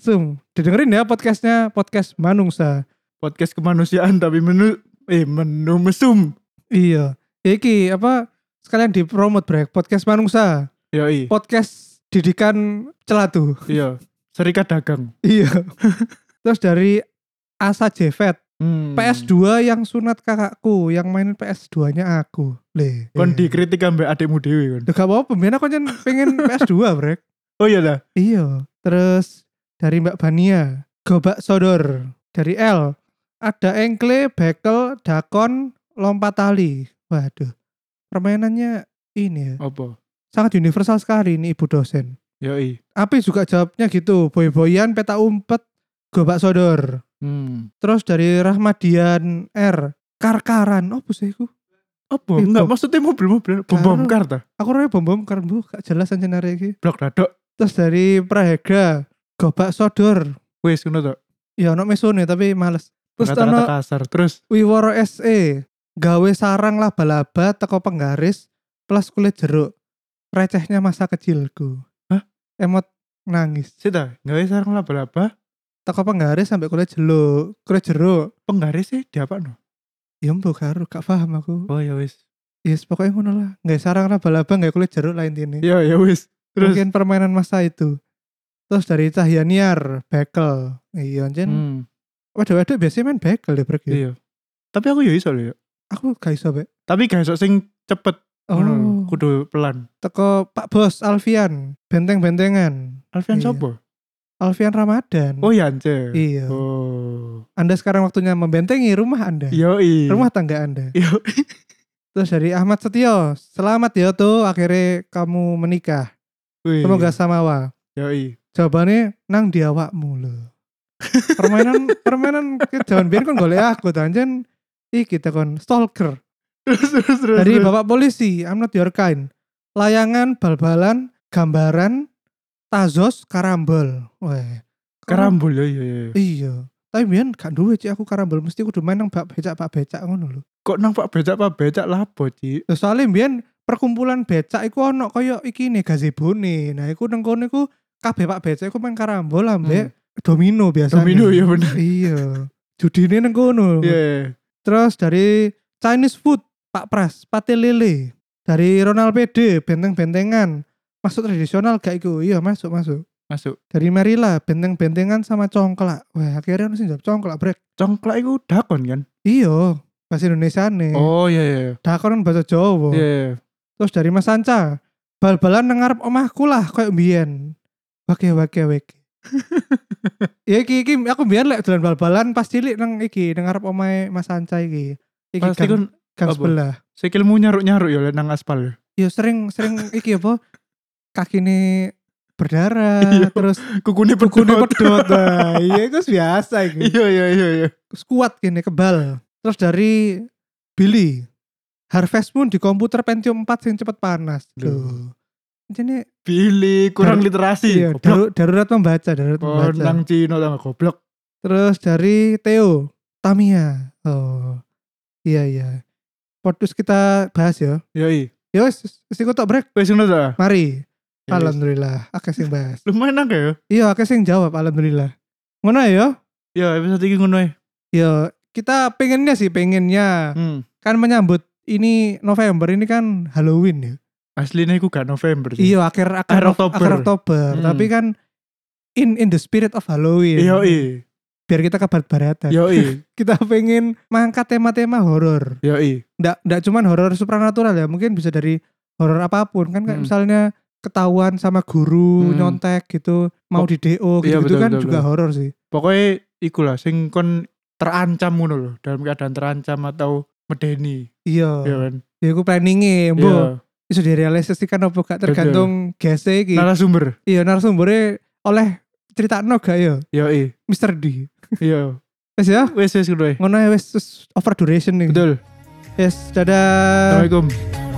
Speaker 3: Sum, didengerin ya podcastnya podcast Manungsa.
Speaker 1: Podcast kemanusiaan tapi menu eh menu mesum.
Speaker 3: Iya. Ya Iki apa sekalian dipromot brek podcast Manungsa,
Speaker 1: Yoi.
Speaker 3: podcast didikan celatu.
Speaker 1: Iya. Serikat dagang.
Speaker 3: Iya. Terus dari Asa Jevet,
Speaker 1: Hmm.
Speaker 3: PS2 yang sunat kakakku, yang mainin PS2-nya aku. Le.
Speaker 1: Kon
Speaker 3: Iya.
Speaker 1: dikritik ambek adikmu dewi kon.
Speaker 3: Duh, gak apa-apa, biar aku jen pengen PS2 brek.
Speaker 1: Oh iya lah.
Speaker 3: Iya. Terus dari Mbak Bania, gobak sodor dari L. Ada engkle, bekel, dakon, lompat tali. Waduh. Permainannya ini ya.
Speaker 1: Apa?
Speaker 3: Sangat universal sekali ini ibu dosen.
Speaker 1: Yoi.
Speaker 3: Api juga jawabnya gitu. Boy-boyan, peta umpet, gobak sodor.
Speaker 1: Hmm.
Speaker 3: Terus dari Rahmadian R. Karkaran. Oh, sih aku?
Speaker 1: Apa? Iya,
Speaker 3: Itu.
Speaker 1: Enggak maksudnya mobil-mobil bom bom kar ta?
Speaker 3: Aku raya bom-bom karena bu, gak jelas aja iki.
Speaker 1: Blok dadok.
Speaker 3: Terus dari Prahega, gobak sodor.
Speaker 1: Wes ngono to.
Speaker 3: Ya, ono mesone tapi males. Terus ono
Speaker 1: kata-kata kasar. Terus
Speaker 3: Wiworo SE gawe sarang laba-laba teko penggaris plus kulit jeruk recehnya masa kecilku
Speaker 1: Hah?
Speaker 3: emot nangis
Speaker 1: sita gawe sarang laba-laba
Speaker 3: teko penggaris sampai kulit jeruk kulit jeruk
Speaker 1: penggaris sih diapakno?
Speaker 3: ya mbok karo gak paham aku
Speaker 1: Oh ya wis.
Speaker 3: yes pokoknya ngono lah nggak sarang laba-laba nggak kulit jeruk lain ini
Speaker 1: Ya ya wis. Terus
Speaker 3: mungkin permainan masa itu terus dari Cahyaniar bekel iya anjen
Speaker 1: Hmm,
Speaker 3: waduh-waduh biasanya main bekel deh Brek, ya.
Speaker 1: iya. Tapi aku ya iso lho ya.
Speaker 3: aku gak iso Oh. Bek.
Speaker 1: Tapi gak iso sing cepet ngono lho. kudu pelan.
Speaker 3: teko Pak Bos Alfian benteng-bentengan
Speaker 1: Alfian
Speaker 3: Iya.
Speaker 1: sopo?
Speaker 3: Alfian Ramadan
Speaker 1: Oh Yance.
Speaker 3: iya
Speaker 1: Oh. Iya,
Speaker 3: Anda sekarang waktunya membentengi rumah Anda
Speaker 1: Yoi.
Speaker 3: rumah tangga Anda
Speaker 1: Yoi.
Speaker 3: terus dari Ahmad Setio selamat ya tuh akhirnya kamu menikah
Speaker 1: Wih.
Speaker 3: semoga samawa
Speaker 1: Yoi.
Speaker 3: jawabannya nang diawakmu loh permainan permainan jangan biar kon golek aku tanjen Ih kita kon stalker
Speaker 1: Terus terus terus.
Speaker 3: dari
Speaker 1: terus.
Speaker 3: bapak polisi I'm not your kind layangan bal-balan gambaran tazos karambol Weh.
Speaker 1: karambol ya iya iya.
Speaker 3: Iya. Tapi biyen gak duwe cik aku karambol mesti kudu main nang bak becak bak becak ngono lho.
Speaker 1: Kok nang Pak Becak Pak Becak lapo, Ci?
Speaker 3: Lah soalnya biyen perkumpulan becak iku ono kaya iki nih gazebo nih. Nah, iku nang kono iku kabeh pak becak iku main karambol ambek domino biasanya.
Speaker 1: Hmm. Domino ya bener.
Speaker 3: Iya. Judine nang kono.
Speaker 1: Iya.
Speaker 3: Terus dari Chinese food Pak Pras, pate lele. Dari Ronald PD, benteng-bentengan. Masuk tradisional gak iku? Iya, masuk, masuk.
Speaker 1: Masuk.
Speaker 3: Dari Marila, benteng-bentengan sama congklak. Wah, akhirnya harus jawab congklak, brek.
Speaker 1: Congklak iku dakon kan?
Speaker 3: Iya, bahasa Indonesia nih.
Speaker 1: Oh iya iya.
Speaker 3: Dakon kan bahasa
Speaker 1: Iya.
Speaker 3: Jawa.
Speaker 1: iya.
Speaker 3: Terus dari Mas Sanca, bal-balan nang ngarep omahku lah koyo mbiyen. Wake wake wake. ya iki iki aku mbiyen lek dolan bal-balan pas cilik nang iki nang ngarep omahe Mas Sanca iki. Iki
Speaker 1: Pasti
Speaker 3: gang,
Speaker 1: kan
Speaker 3: gang
Speaker 1: apa?
Speaker 3: sebelah.
Speaker 1: sikilmu nyaruk-nyaruk ya liat nang aspal ya.
Speaker 3: Ya sering sering iki apa kakine berdarah
Speaker 1: Iya.
Speaker 3: terus
Speaker 1: Kukune
Speaker 3: kune
Speaker 1: pedot.
Speaker 3: pedot. Nah, Iya iku biasa iki.
Speaker 1: Iya iya iya iya.
Speaker 3: kuat gini kebal terus dari Billy Harvest Moon di komputer Pentium 4 yang cepet panas
Speaker 1: Duh.
Speaker 3: Duh. jadi
Speaker 1: Pilih kurang
Speaker 3: Dar-
Speaker 1: literasi.
Speaker 3: iya,
Speaker 1: goblok.
Speaker 3: daru- darurat membaca darurat membaca
Speaker 1: Nang Cina tambah goblok.
Speaker 3: terus dari Theo Tamiya. Oh. Iya iya. Podcast kita bahas ya.
Speaker 1: Yoi.
Speaker 3: Yo wis sing tak break.
Speaker 1: Wis ngono ta?
Speaker 3: Mari.
Speaker 1: Ya, wis.
Speaker 3: Alhamdulillah akeh sing bahas.
Speaker 1: Lumayan akeh ya.
Speaker 3: Iya akeh sing jawab alhamdulillah. Ngono ya.
Speaker 1: Ya episode iki ngono ya.
Speaker 3: Yo kita pengennya sih pengennya
Speaker 1: Hmm.
Speaker 3: kan menyambut ini November ini kan Halloween ya.
Speaker 1: Asline iku gak November sih.
Speaker 3: Iya akhir akhir,
Speaker 1: Akhir Oktober.
Speaker 3: akhir Oktober.
Speaker 1: Hmm. Iya,
Speaker 3: Tapi kan in in the spirit of Halloween.
Speaker 1: Yoi.
Speaker 3: Biar kita kebarat-baratan.
Speaker 1: Yoi.
Speaker 3: Kita pengen mengangkat tema-tema horor.
Speaker 1: Yoi.
Speaker 3: Nggak nggak cuman horor supranatural ya, mungkin bisa dari horor apapun kan kayak
Speaker 1: Hmm.
Speaker 3: misalnya ketahuan sama guru
Speaker 1: Hmm.
Speaker 3: nyontek gitu, mau di DO gitu,
Speaker 1: Iya, betul,
Speaker 3: kan
Speaker 1: betul,
Speaker 3: juga
Speaker 1: betul.
Speaker 3: horor sih.
Speaker 1: Pokoknya iku lah sing kon terancam ngono loh, dalam keadaan terancam atau medeni, ya
Speaker 3: Iya.
Speaker 1: kan.
Speaker 3: Ya aku planningnya,
Speaker 1: Iya.
Speaker 3: mbok. Bisa direalisasikan apa gak tergantung guest iki.
Speaker 1: Narasumber.
Speaker 3: Iya narasumbernya oleh cerita no gak ya
Speaker 1: Yoi.
Speaker 3: Mr. D
Speaker 1: Iya.
Speaker 3: Wes ya
Speaker 1: Wes wes ngono ya.
Speaker 3: ngono ya wes terus over duration nih
Speaker 1: Betul.
Speaker 3: yes dadah
Speaker 1: Assalamualaikum.
Speaker 2: la